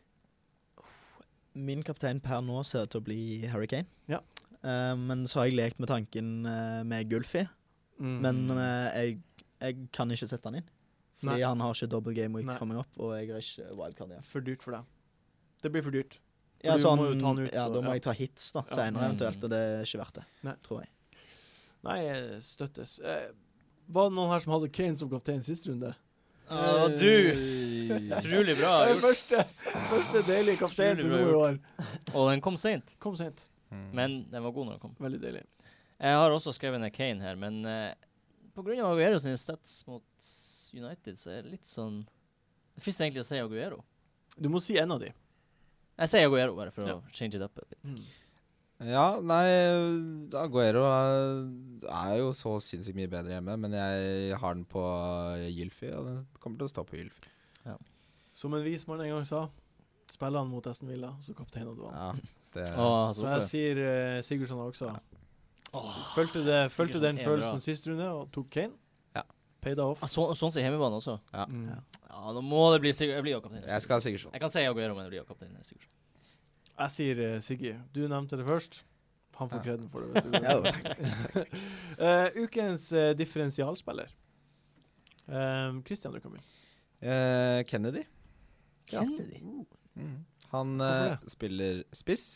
[SPEAKER 5] Min kaptein per nå ser ut til å bli Harry Kane.
[SPEAKER 1] Ja.
[SPEAKER 5] Eh, men så har jeg lekt med tanken eh, med Gulfi.
[SPEAKER 1] Mm.
[SPEAKER 5] Men eh, jeg, jeg kan ikke sette han inn. Fordi
[SPEAKER 1] Nei.
[SPEAKER 5] han har ikke double game week
[SPEAKER 1] Nei.
[SPEAKER 5] coming up, og jeg har ikke wildcard igjen.
[SPEAKER 1] For dyrt for deg. Det blir for dyrt. For
[SPEAKER 5] Ja,
[SPEAKER 1] du
[SPEAKER 5] så
[SPEAKER 1] må jo ta han ut,
[SPEAKER 5] ja,
[SPEAKER 1] og-
[SPEAKER 5] da
[SPEAKER 1] ja.
[SPEAKER 5] må jeg ta hits da,
[SPEAKER 1] Ja.
[SPEAKER 5] senere
[SPEAKER 2] Mm.
[SPEAKER 5] eventuelt, og det er ikke verdt det,
[SPEAKER 1] Nei.
[SPEAKER 5] tror jeg.
[SPEAKER 1] Nei, eh, støttes. Eh, var det noen her som hadde Kane som kaptein sist runde?
[SPEAKER 2] Ja, du.
[SPEAKER 3] du.
[SPEAKER 2] Utrolig bra
[SPEAKER 1] Den
[SPEAKER 2] gjort.
[SPEAKER 1] første, første deilige kapteinen til
[SPEAKER 2] Utrolig
[SPEAKER 1] nå i
[SPEAKER 2] bra
[SPEAKER 1] år.
[SPEAKER 2] Og den kom seint.
[SPEAKER 1] Kom sent.
[SPEAKER 3] Mm.
[SPEAKER 2] Men den var god når den kom.
[SPEAKER 1] Veldig deilig.
[SPEAKER 2] Jeg har også skrevet ned Kane her, men eh, på grunn av Aguero sine stats mot United, så er det litt sånn Det fins egentlig å si Aguero.
[SPEAKER 1] Du må si en av de.
[SPEAKER 2] Jeg sier Aguero bare for
[SPEAKER 1] Ja.
[SPEAKER 2] å change it up. a bit.
[SPEAKER 3] Ja, nei Aguero eh, er jo så sinnssykt mye bedre hjemme, men jeg har den på Gylfi, og den kommer til å stå på Gylfi.
[SPEAKER 1] Som en vis mann en gang sa, spiller han mot Aston Villa, så kapteinen du han.
[SPEAKER 3] Ja, det
[SPEAKER 2] Åh,
[SPEAKER 1] Så jeg
[SPEAKER 2] så
[SPEAKER 1] sier eh, Sigurdsson også.
[SPEAKER 2] Åh,
[SPEAKER 1] Følte, det,
[SPEAKER 2] Sigurdsson
[SPEAKER 1] følte den
[SPEAKER 2] er bra.
[SPEAKER 1] følelsen sist runde og tok Kane.
[SPEAKER 3] Ja.
[SPEAKER 1] Paid off.
[SPEAKER 2] Ah, så, sånn som hjemmebane også.
[SPEAKER 1] Mm.
[SPEAKER 5] Ja.
[SPEAKER 2] Ja, da må det bli Sigurd. Jeg blir jo kaptein.
[SPEAKER 3] Jeg skal ha sånn. Sigurdsson.
[SPEAKER 2] Jeg kan si Aguero, men jeg blir jo kaptein. Sigurd.
[SPEAKER 1] Jeg sier eh, Siggy. Du nevnte det først. Han får
[SPEAKER 3] Ja.
[SPEAKER 1] kreden for det. hvis du-
[SPEAKER 5] Ja,
[SPEAKER 1] Eh, ukens eh, differensialspiller. Eh, Christian, du kan begynne.
[SPEAKER 3] Eh, Kennedy. Mm.
[SPEAKER 1] Ja.
[SPEAKER 2] Kennedy.
[SPEAKER 3] Han
[SPEAKER 1] Hvorfor
[SPEAKER 3] eh, spiller spiss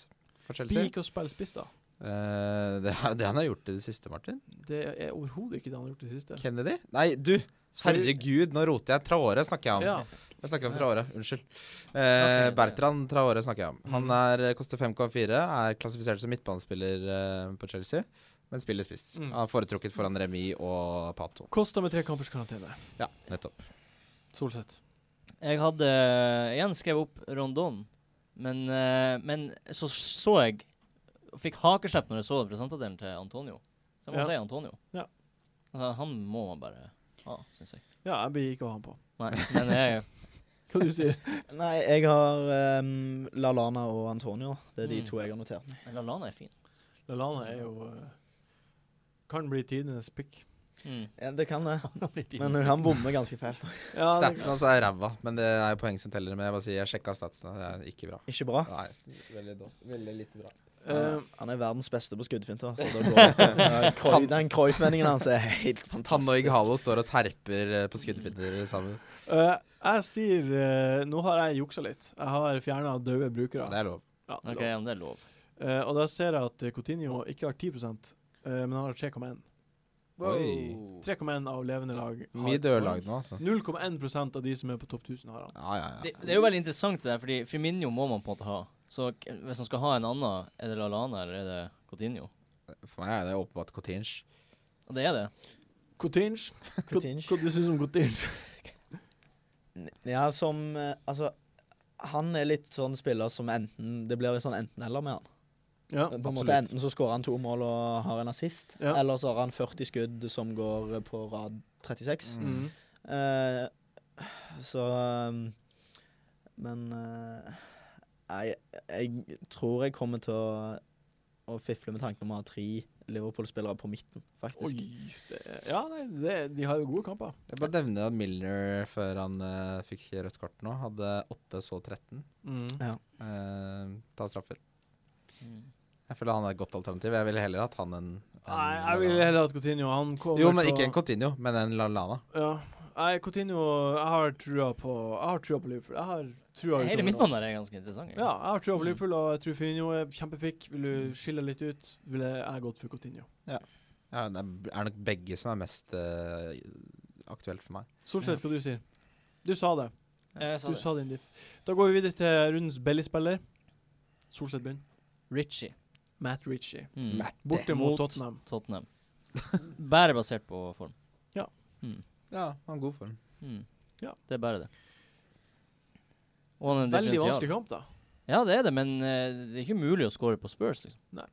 [SPEAKER 3] for
[SPEAKER 1] Vi
[SPEAKER 3] Chelsea.
[SPEAKER 1] gikk og spilte spiss, da.
[SPEAKER 3] Eh, det er det han har gjort i det siste, Martin.
[SPEAKER 1] Det er overhodet ikke det han har gjort i det siste.
[SPEAKER 3] Kennedy? Nei, du!
[SPEAKER 1] Skal vi-
[SPEAKER 3] Herregud, nå roter jeg. Traore snakker jeg om.
[SPEAKER 1] Ja.
[SPEAKER 3] Jeg snakker om Traore, unnskyld.
[SPEAKER 2] Ok,
[SPEAKER 3] Eh,
[SPEAKER 2] det-
[SPEAKER 3] Bertrand Traore snakker jeg om. Han
[SPEAKER 1] Mm.
[SPEAKER 3] er, eh, koster 5,4, er klassifisert som midtbanespiller eh, på Chelsea, men spiller spiss.
[SPEAKER 1] Mm.
[SPEAKER 3] Han er foretrukket foran Remi og Pato.
[SPEAKER 1] Kosta med tre kampers karantene.
[SPEAKER 3] Ja, nettopp.
[SPEAKER 1] Solseth.
[SPEAKER 2] Jeg hadde eh, igjen skrevet opp Rondon, men, eh, men så så jeg og Fikk hakeslepp når jeg så presentadelen til Antonio. Så jeg må
[SPEAKER 1] Ja.
[SPEAKER 2] si Antonio.
[SPEAKER 1] Ja.
[SPEAKER 2] Altså, han må man bare ha, syns jeg.
[SPEAKER 1] Ja, jeg blir ikke å ha han på.
[SPEAKER 2] Nei, men jeg
[SPEAKER 1] Hva du sier
[SPEAKER 5] Nei, jeg har um, Lalana og Antonio. Det er de
[SPEAKER 2] Mm.
[SPEAKER 5] to jeg har notert.
[SPEAKER 2] men Lallana er fin.
[SPEAKER 1] Lallana er jo eh, Kan bli tidenes pick.
[SPEAKER 2] Mm.
[SPEAKER 5] Ja, det kan det, men
[SPEAKER 2] Men,
[SPEAKER 5] han bommer ganske fælt.
[SPEAKER 1] Ja, det-
[SPEAKER 3] Statsen hans er ræva, men det er jo poeng som teller. Men jeg bare sier, jeg sjekka statsene, det er ikke bra.
[SPEAKER 5] Ikke bra.
[SPEAKER 3] Nei, veldig, dårlig. veldig lite bra.
[SPEAKER 1] eh,
[SPEAKER 5] Han er verdens beste på skuddfinter. Så da går det. Ja, Cruyff- Den Cruyff-meningen hans er helt
[SPEAKER 3] Han og
[SPEAKER 5] fantastisk.
[SPEAKER 3] Igalo står og terper eh, på skuddfinter sammen.
[SPEAKER 1] eh, jeg sier eh, Nå har jeg juksa litt. Jeg har fjerna døde brukere.
[SPEAKER 3] Det er lov.
[SPEAKER 1] Ja, det er
[SPEAKER 2] OK,
[SPEAKER 1] lov.
[SPEAKER 2] men det er lov.
[SPEAKER 1] Eh, og da ser jeg at eh, Coutinho ikke har 10 eh, men han har 3,1.
[SPEAKER 2] Oh.
[SPEAKER 3] Oi.
[SPEAKER 1] 3,1 av levende lag. har
[SPEAKER 3] Mye
[SPEAKER 1] et
[SPEAKER 3] dørlag
[SPEAKER 1] poeng.
[SPEAKER 3] nå, altså.
[SPEAKER 1] 0,1 av de som er på topp 1000, har han.
[SPEAKER 3] Ja, ja, ja.
[SPEAKER 2] Det, det er jo veldig interessant det der, fordi Firmino må man på en måte ha. Så k- hvis man skal ha en annen, er det Lallana eller er det Coutinho?
[SPEAKER 3] For meg er det åpenbart Cotinge.
[SPEAKER 2] Og det er det.
[SPEAKER 1] Coutinge.
[SPEAKER 5] Coutinho.
[SPEAKER 1] Hva du synes om Coutinge?
[SPEAKER 5] Ja, som eh, Altså, han er litt sånn spiller som enten Det blir litt sånn enten-eller med han.
[SPEAKER 1] Ja.
[SPEAKER 5] På en måte
[SPEAKER 3] absolutt.
[SPEAKER 5] Enten så skårer han to mål og har en assist,
[SPEAKER 1] Ja.
[SPEAKER 5] eller så har han 40 skudd som går på rad 36.
[SPEAKER 1] Mm.
[SPEAKER 5] Eh, så um, Men eh, jeg, jeg tror jeg kommer til å, å fifle med tanken om å ha tre Liverpool-spillere på midten,
[SPEAKER 1] Oi.
[SPEAKER 5] faktisk.
[SPEAKER 1] Det, ja, nei, det, de har jo gode kamper.
[SPEAKER 3] Jeg bare nevner at Milner, før han eh, fikk rødt kort nå, hadde 8, så 13.
[SPEAKER 1] Mm.
[SPEAKER 3] Eh, ta straffer. Jeg føler han er et godt alternativ. Jeg ville heller hatt han enn
[SPEAKER 1] Nei, jeg ville heller hatt Coutinho. Han kommer
[SPEAKER 3] Jo, men
[SPEAKER 1] til å-
[SPEAKER 3] ikke en Coutinho, men en Lallana.
[SPEAKER 1] Ja. Nei, Coutinho Jeg har trua på Jeg har trua på Liverpool. Jeg har trua
[SPEAKER 2] Hele
[SPEAKER 1] utover nå.
[SPEAKER 2] midtbanen der er ganske interessant. egentlig.
[SPEAKER 1] Ja, jeg har trua på
[SPEAKER 2] Mm.
[SPEAKER 1] Liverpool, og jeg tror Firmino er kjempepikk. Vil du skille litt ut, ville jeg gått for Coutinho.
[SPEAKER 3] Ja, det er er nok begge som er mest eh, aktuelt for meg.
[SPEAKER 1] Solseth, hva du sier du? sa det.
[SPEAKER 2] Jeg sa
[SPEAKER 1] Du
[SPEAKER 2] det.
[SPEAKER 1] sa din diff. Da går vi videre til rundens billigspiller. Solseth begynner.
[SPEAKER 2] Ritchie.
[SPEAKER 1] Matt Ritchie.
[SPEAKER 2] Mm.
[SPEAKER 3] Matt.
[SPEAKER 1] Borte
[SPEAKER 2] Mot-
[SPEAKER 1] mot Tottenham.
[SPEAKER 2] Tottenham. Bare basert på form.
[SPEAKER 3] Ja, han er god form.
[SPEAKER 2] Mm.
[SPEAKER 1] Ja.
[SPEAKER 2] Det er bare det. Og han er en
[SPEAKER 1] Veldig
[SPEAKER 2] differensial.
[SPEAKER 1] vanskelig kamp, da.
[SPEAKER 2] Ja, det er det, men eh, det er ikke mulig å score på Spurs, liksom.
[SPEAKER 1] Nei,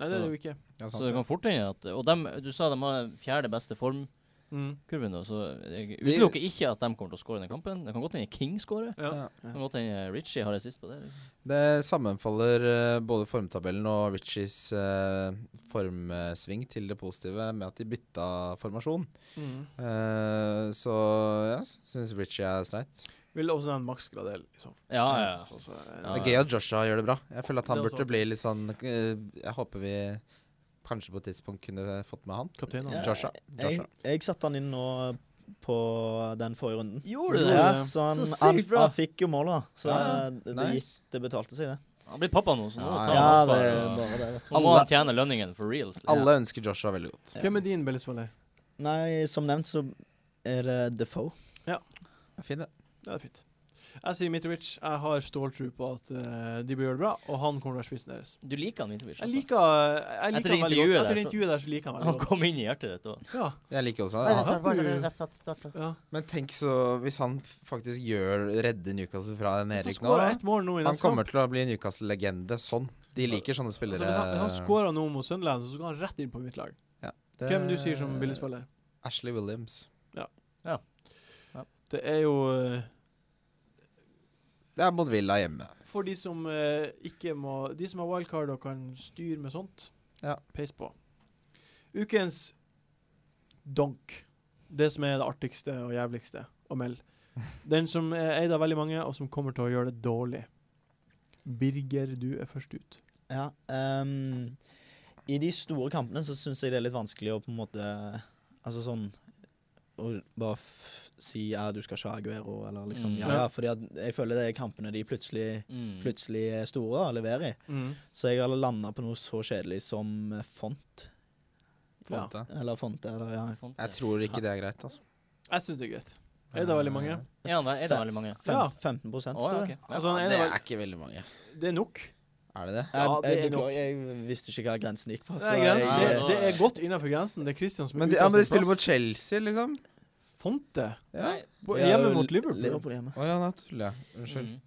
[SPEAKER 1] det er det jo ikke.
[SPEAKER 3] Ja, sant,
[SPEAKER 2] Så det
[SPEAKER 3] ja.
[SPEAKER 2] kan fort hende at Og dem, du sa de har den fjerde beste formkurven,
[SPEAKER 1] Mm.
[SPEAKER 2] da, så jeg utelukker ikke at de kommer til å skåre den kampen. Det kan godt hende King skårer.
[SPEAKER 1] Ja.
[SPEAKER 3] Ja.
[SPEAKER 2] Det kan godt hende Ritchie har assist på det. Liksom.
[SPEAKER 3] Det sammenfaller eh, både formtabellen og Richies eh, formsving til det positive med at de bytta formasjon.
[SPEAKER 1] Mm.
[SPEAKER 3] Eh, så ja, syns Richie er streit.
[SPEAKER 1] Vil også nevne Max Gradel. Liksom.
[SPEAKER 2] Ja, ja, ja.
[SPEAKER 1] Også, eh,
[SPEAKER 2] Ja.
[SPEAKER 3] Det er gøy at Joshua gjør det bra. Jeg føler at han
[SPEAKER 1] Det
[SPEAKER 3] burde
[SPEAKER 1] også.
[SPEAKER 3] bli litt sånn eh, Jeg håper vi kanskje på et tidspunkt kunne fått med han.
[SPEAKER 1] Kapteinen.
[SPEAKER 5] Ja.
[SPEAKER 3] Joshua.
[SPEAKER 5] Jeg,
[SPEAKER 3] Joshua.
[SPEAKER 5] jeg satte han inn nå på den forrige runden.
[SPEAKER 1] Gjorde du det?
[SPEAKER 5] Ja, så han,
[SPEAKER 2] Så sykt
[SPEAKER 5] han,
[SPEAKER 2] bra.
[SPEAKER 5] han fikk jo mål, da. Så
[SPEAKER 3] Ja,
[SPEAKER 5] det,
[SPEAKER 3] nice.
[SPEAKER 5] gikk, det betalte seg, det.
[SPEAKER 2] Han blir pappa nå, så nå
[SPEAKER 3] Ja,
[SPEAKER 2] tar han
[SPEAKER 5] Ja, det
[SPEAKER 2] ansvar.
[SPEAKER 5] er
[SPEAKER 2] og-
[SPEAKER 5] bare det. vet du.
[SPEAKER 2] Nå må
[SPEAKER 3] Alle-
[SPEAKER 2] han tjene lønningen for reals. Liksom.
[SPEAKER 3] Alle ønsker Joshua veldig godt.
[SPEAKER 1] Hvem er din billigspiller?
[SPEAKER 5] Nei, som nevnt så er det Defoe.
[SPEAKER 3] Det er Fint, det.
[SPEAKER 1] Ja, det er fint. Jeg sier Mitrovic. Jeg har ståltro på at eh, de bør gjøre det bra, og han kommer til å være spissen deres.
[SPEAKER 2] Du liker han, Mitrovic.
[SPEAKER 1] Jeg
[SPEAKER 2] altså.
[SPEAKER 1] liker, jeg liker han
[SPEAKER 2] Etter
[SPEAKER 1] veldig
[SPEAKER 2] intervjuet
[SPEAKER 1] godt.
[SPEAKER 2] der,
[SPEAKER 1] Etter det
[SPEAKER 2] så-
[SPEAKER 1] intervjuet der så liker han
[SPEAKER 2] Han
[SPEAKER 1] veldig godt.
[SPEAKER 2] kom inn i hjertet ditt òg.
[SPEAKER 1] Ja,
[SPEAKER 3] Jeg liker også
[SPEAKER 1] Nei,
[SPEAKER 3] han.
[SPEAKER 1] nei. ja.
[SPEAKER 3] Men tenk så Hvis han f- faktisk gjør redder Newcastle fra
[SPEAKER 1] Så
[SPEAKER 3] Erik nå
[SPEAKER 1] skårer jeg ett mål nå i
[SPEAKER 3] Han
[SPEAKER 1] neste kamp.
[SPEAKER 3] kommer til å bli en Newcastle-legende sånn. De liker sånne
[SPEAKER 1] Altså,
[SPEAKER 3] spillere.
[SPEAKER 1] hvis han, hvis han skårer nå mot Sunderland, så skal han rett inn på mitt lag.
[SPEAKER 3] Det-
[SPEAKER 1] Hvem du sier som billigspiller?
[SPEAKER 3] Ashley Williams.
[SPEAKER 1] Det er jo eh,
[SPEAKER 3] Det er mot Villa hjemme.
[SPEAKER 1] For de som eh, ikke må De som har wildcard og kan styre med sånt,
[SPEAKER 3] Ja.
[SPEAKER 1] peis på. Ukens donk. Det som er det artigste og jævligste å melde. Den som er eid av veldig mange, og som kommer til å gjøre det dårlig. Birger, du er først ut.
[SPEAKER 5] Ja. ehm, I de store kampene så syns jeg det er litt vanskelig å på en måte Altså sånn Å bare f si ja, du skal ikke ha Aguero, eller liksom
[SPEAKER 2] Mm.
[SPEAKER 5] Ja, ja, fordi at jeg føler det er kampene de plutselig,
[SPEAKER 2] Mm.
[SPEAKER 5] plutselig er store da, og leverer i. Så jeg har landa på noe så kjedelig som eh, font.
[SPEAKER 1] Ja.
[SPEAKER 3] Fonte.
[SPEAKER 5] Eller font, eller ja.
[SPEAKER 2] Fonte.
[SPEAKER 3] Jeg tror ikke det er greit, altså.
[SPEAKER 1] Jeg syns det er greit. Er det veldig mange?
[SPEAKER 2] Er, han, er det veldig mange?
[SPEAKER 5] Fem,
[SPEAKER 1] Ja.
[SPEAKER 5] 15
[SPEAKER 2] Å,
[SPEAKER 5] står
[SPEAKER 2] ja,
[SPEAKER 5] det.
[SPEAKER 2] ok. Ja.
[SPEAKER 1] Altså, han
[SPEAKER 3] Ja,
[SPEAKER 1] er
[SPEAKER 3] det
[SPEAKER 1] det,
[SPEAKER 3] er
[SPEAKER 1] vel-
[SPEAKER 3] ikke veldig mange.
[SPEAKER 1] det er nok.
[SPEAKER 3] Er det det?
[SPEAKER 1] Ja,
[SPEAKER 5] Jeg,
[SPEAKER 1] det er
[SPEAKER 5] jeg,
[SPEAKER 1] nok.
[SPEAKER 5] beklager, jeg visste ikke hva grensen gikk på.
[SPEAKER 1] Det
[SPEAKER 5] så
[SPEAKER 1] er, grensen.
[SPEAKER 5] jeg-
[SPEAKER 1] Det, det er godt innafor grensen. Det er Christian som er
[SPEAKER 3] Men de,
[SPEAKER 1] ute
[SPEAKER 3] ja,
[SPEAKER 1] av
[SPEAKER 3] men de
[SPEAKER 1] sin
[SPEAKER 3] spiller mot
[SPEAKER 1] plass.
[SPEAKER 3] Chelsea, liksom.
[SPEAKER 1] Fonte?
[SPEAKER 3] Ja.
[SPEAKER 2] Nei,
[SPEAKER 1] På-
[SPEAKER 5] Ja,
[SPEAKER 1] Hjemme mot Liverpool?
[SPEAKER 5] Liverpool hjemme.
[SPEAKER 3] Å ja, nå tuller jeg. Unnskyld.
[SPEAKER 2] Mm.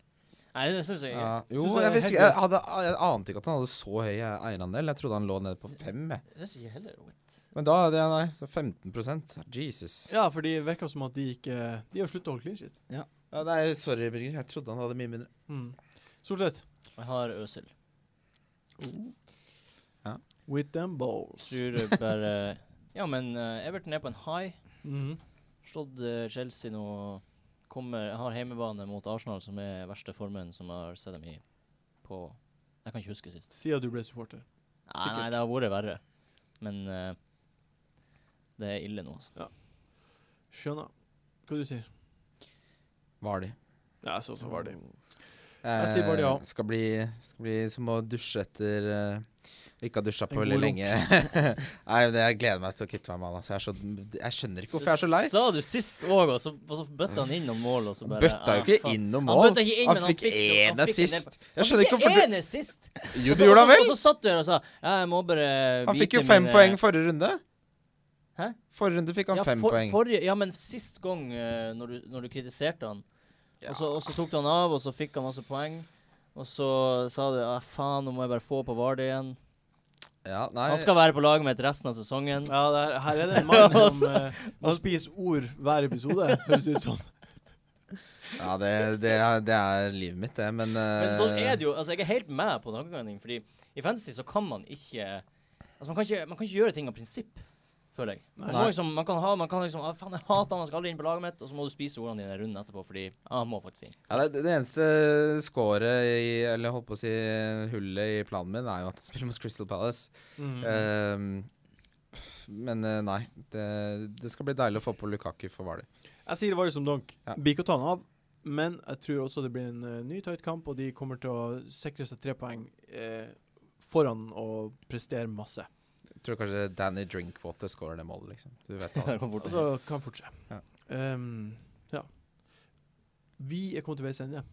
[SPEAKER 2] Nei, Mm. det syns jeg ikke.
[SPEAKER 3] Ja. Jo,
[SPEAKER 1] Synes jeg
[SPEAKER 3] jeg,
[SPEAKER 1] er
[SPEAKER 3] visste
[SPEAKER 1] helt
[SPEAKER 3] ikke, jeg, hadde, jeg ante ikke at han hadde så høy eh, eierandel. Jeg trodde han lå nede på fem. Jeg.
[SPEAKER 2] Det syns jeg heller.
[SPEAKER 3] Men da er det nei, så 15 Jesus.
[SPEAKER 1] Ja, for det virker som at de ikke De har slutta å holde clean shit.
[SPEAKER 3] Ja, nei, sorry, Birger. Jeg trodde han hadde mye mindre.
[SPEAKER 1] Mm. Stort sett.
[SPEAKER 2] Jeg har Øsil.
[SPEAKER 1] With them balls.
[SPEAKER 2] Tror bare Ja, men eh, Everton er på en high.
[SPEAKER 1] Mhm.
[SPEAKER 2] Slått eh, Chelsea nå. Kommer, har hjemmebane mot Arsenal, som er verste formen som jeg har sett dem i på Jeg kan ikke huske sist.
[SPEAKER 1] Siden du ble supporter.
[SPEAKER 2] Nei, nei, det har vært verre. Men eh, det er ille nå, altså.
[SPEAKER 1] Skjønner. Hva du sier
[SPEAKER 3] Var de. Eh,
[SPEAKER 1] Ja, så så var det. Jeg sier bare ja.
[SPEAKER 3] Skal bli, skal bli som å dusje etter eh, Ikke ha dusja
[SPEAKER 1] En
[SPEAKER 3] på veldig
[SPEAKER 1] god lunk.
[SPEAKER 3] lenge. Nei, men Jeg gleder meg til å kvitte meg med han. Altså. Jeg, er så, jeg skjønner ikke hvorfor jeg er så lei.
[SPEAKER 2] Sa du sist òg, og så, og så bøtta han inn noen mål, og så bare
[SPEAKER 3] Bøtta jo
[SPEAKER 2] ah,
[SPEAKER 3] ikke
[SPEAKER 2] faen.
[SPEAKER 3] inn noe
[SPEAKER 2] Han
[SPEAKER 3] mål.
[SPEAKER 2] bøtta ikke inn,
[SPEAKER 3] Han
[SPEAKER 2] men han
[SPEAKER 3] fikk
[SPEAKER 2] fikk- han
[SPEAKER 3] én
[SPEAKER 2] fikk Altså, en
[SPEAKER 3] assist.
[SPEAKER 2] nedpå.
[SPEAKER 3] Jeg skjønner ikke hvorfor du
[SPEAKER 2] ene sist!
[SPEAKER 3] Jo, du gjorde han
[SPEAKER 2] Og
[SPEAKER 3] vel!
[SPEAKER 2] så satt du her og sa ja, jeg må bare
[SPEAKER 3] Han fikk
[SPEAKER 2] vite
[SPEAKER 3] jo fem
[SPEAKER 2] Eh, mine-
[SPEAKER 3] poeng forrige runde.
[SPEAKER 2] Hæ?
[SPEAKER 3] Forrige runde fikk han
[SPEAKER 2] ja,
[SPEAKER 3] fem
[SPEAKER 2] for,
[SPEAKER 3] poeng.
[SPEAKER 2] Forrige, ja, men sist gang eh, når, du, når du kritiserte han, og, så, og så tok du han av, og så fikk han masse poeng. Og så sa du ah, faen, nå må jeg bare få på Vardø igjen.
[SPEAKER 3] Ja, nei. Eh.
[SPEAKER 2] Han skal være på laget mitt resten av sesongen.
[SPEAKER 1] Ja, det er, her er det en mann som
[SPEAKER 2] Altså-
[SPEAKER 1] eh, må spise ord hver episode, høres det sånn. ut som.
[SPEAKER 3] Ja, det, det, er, det er livet mitt, det, men eh,
[SPEAKER 2] Men sånn er det jo. Altså, jeg er helt med på tankegangen din, fordi i fantasy så kan man ikke Altså, man kan ikke, man kan ikke gjøre ting av prinsipp, føler jeg. Man, må
[SPEAKER 3] Nei.
[SPEAKER 2] liksom, man kan ha Man kan liksom ah, Faen, jeg hater han, han skal aldri inn på laget mitt. Og så må du spise ordene dine runden etterpå, fordi ah, han må faktisk inn.
[SPEAKER 3] Ja, det, det eneste scoret i Eller holdt på å si hullet i planen min, er jo at jeg spiller mot Crystal Palace.
[SPEAKER 1] Mm.
[SPEAKER 2] Mhm.
[SPEAKER 3] Ehm, men eh, nei. Det, det skal bli deilig å få på Lukaku for Hvaler.
[SPEAKER 1] Jeg sier Vardø som donk.
[SPEAKER 3] Ja.
[SPEAKER 1] Blir ikke å ta han av. Men jeg tror også det blir en eh, ny tight kamp, og de kommer til å sikre seg tre poeng eh, foran å prestere masse.
[SPEAKER 3] Jeg Tror kanskje Danny Drinkwater scorer det målet, liksom. Du vet
[SPEAKER 2] Det
[SPEAKER 3] hva.
[SPEAKER 2] kom fort.
[SPEAKER 1] Altså, kan fort skje.
[SPEAKER 3] Ja.
[SPEAKER 1] Ehm, ja. Vi er kommet til veis ende.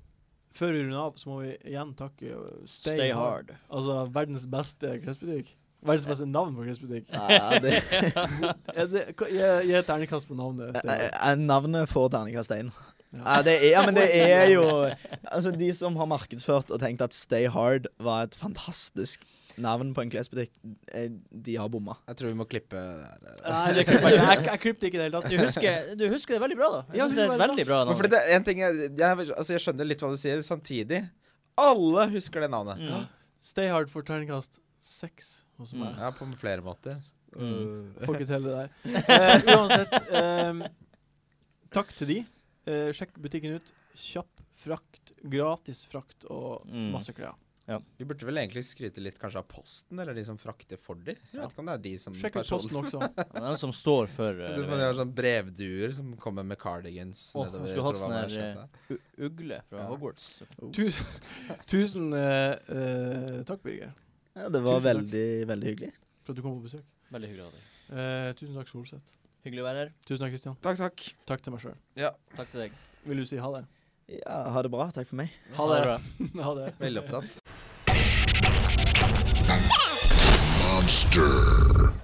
[SPEAKER 1] Før vi runder av, så må vi igjen takke eh, Stay,
[SPEAKER 2] Stay
[SPEAKER 1] hard.
[SPEAKER 2] hard.
[SPEAKER 1] Altså verdens beste klesbutikk. Verdens beste navn på klesbutikk.
[SPEAKER 5] Ja, det,
[SPEAKER 1] Er det- hva- Gi gi et terningkast på navnet. Stay
[SPEAKER 5] Eh,
[SPEAKER 1] hard.
[SPEAKER 5] eh, Navnet får terningkast én.
[SPEAKER 1] Ja.
[SPEAKER 5] Ja, det er, ja, men det er jo Altså, de som har markedsført og tenkt at Stay Hard var et fantastisk navn på en klesbutikk, eh, de har bomma.
[SPEAKER 3] Jeg tror vi må klippe det her. eh.
[SPEAKER 1] Nei, det klipper jeg ikke. Jeg- jeg klipper det ikke i det hele tatt.
[SPEAKER 2] Du husker, du husker det veldig bra, da. Jeg
[SPEAKER 1] Ja,
[SPEAKER 2] synes
[SPEAKER 1] du
[SPEAKER 2] det er et
[SPEAKER 1] var-
[SPEAKER 2] veldig bra
[SPEAKER 3] Men fordi
[SPEAKER 2] navn.
[SPEAKER 3] det er en ting jeg, jeg, altså jeg skjønner litt hva du sier, samtidig Alle husker det navnet.
[SPEAKER 2] Mm.
[SPEAKER 1] Stay hard for terningkast seks hos meg.
[SPEAKER 3] Ja, på flere måter.
[SPEAKER 2] Mm.
[SPEAKER 1] Får ikke til det der. Eh, uansett, ehm, takk til de. Eh, sjekk butikken ut. Kjapp frakt, gratis frakt og
[SPEAKER 2] Mm.
[SPEAKER 1] masse klær.
[SPEAKER 3] Vi burde vel egentlig skryte litt kanskje av Posten, eller de som frakter for dem. Jeg
[SPEAKER 1] Ja.
[SPEAKER 3] vet ikke om det er de som
[SPEAKER 1] Sjekk ut
[SPEAKER 3] person-
[SPEAKER 1] posten også.
[SPEAKER 2] Det er den som står for eh,
[SPEAKER 3] Jeg synes man har sånn brevduer som kommer med cardigans
[SPEAKER 2] Åh, jeg
[SPEAKER 3] nedover. Jeg
[SPEAKER 2] skulle
[SPEAKER 3] tror det
[SPEAKER 2] hatt
[SPEAKER 3] var
[SPEAKER 2] sånn her,
[SPEAKER 3] manschetta.
[SPEAKER 2] u- ugle fra
[SPEAKER 3] Ja.
[SPEAKER 2] Hogwarts.
[SPEAKER 1] Tusen, tusen eh, eh, takk, Birger,
[SPEAKER 5] Ja, det var
[SPEAKER 1] Tusen takk.
[SPEAKER 5] veldig, veldig hyggelig.
[SPEAKER 1] for at du kom på besøk.
[SPEAKER 2] Veldig hyggelig av deg.
[SPEAKER 1] Eh, tusen takk, Solseth.
[SPEAKER 2] Hyggelig å være her.
[SPEAKER 1] Tusen takk, Kristian.
[SPEAKER 3] Takk, takk.
[SPEAKER 1] Takk til meg sjøl.
[SPEAKER 2] Takk til deg.
[SPEAKER 1] Vil du si ha det?
[SPEAKER 5] Ja, ha det bra. Takk for meg.
[SPEAKER 1] Ha det. ha det.
[SPEAKER 3] Veldig opptatt.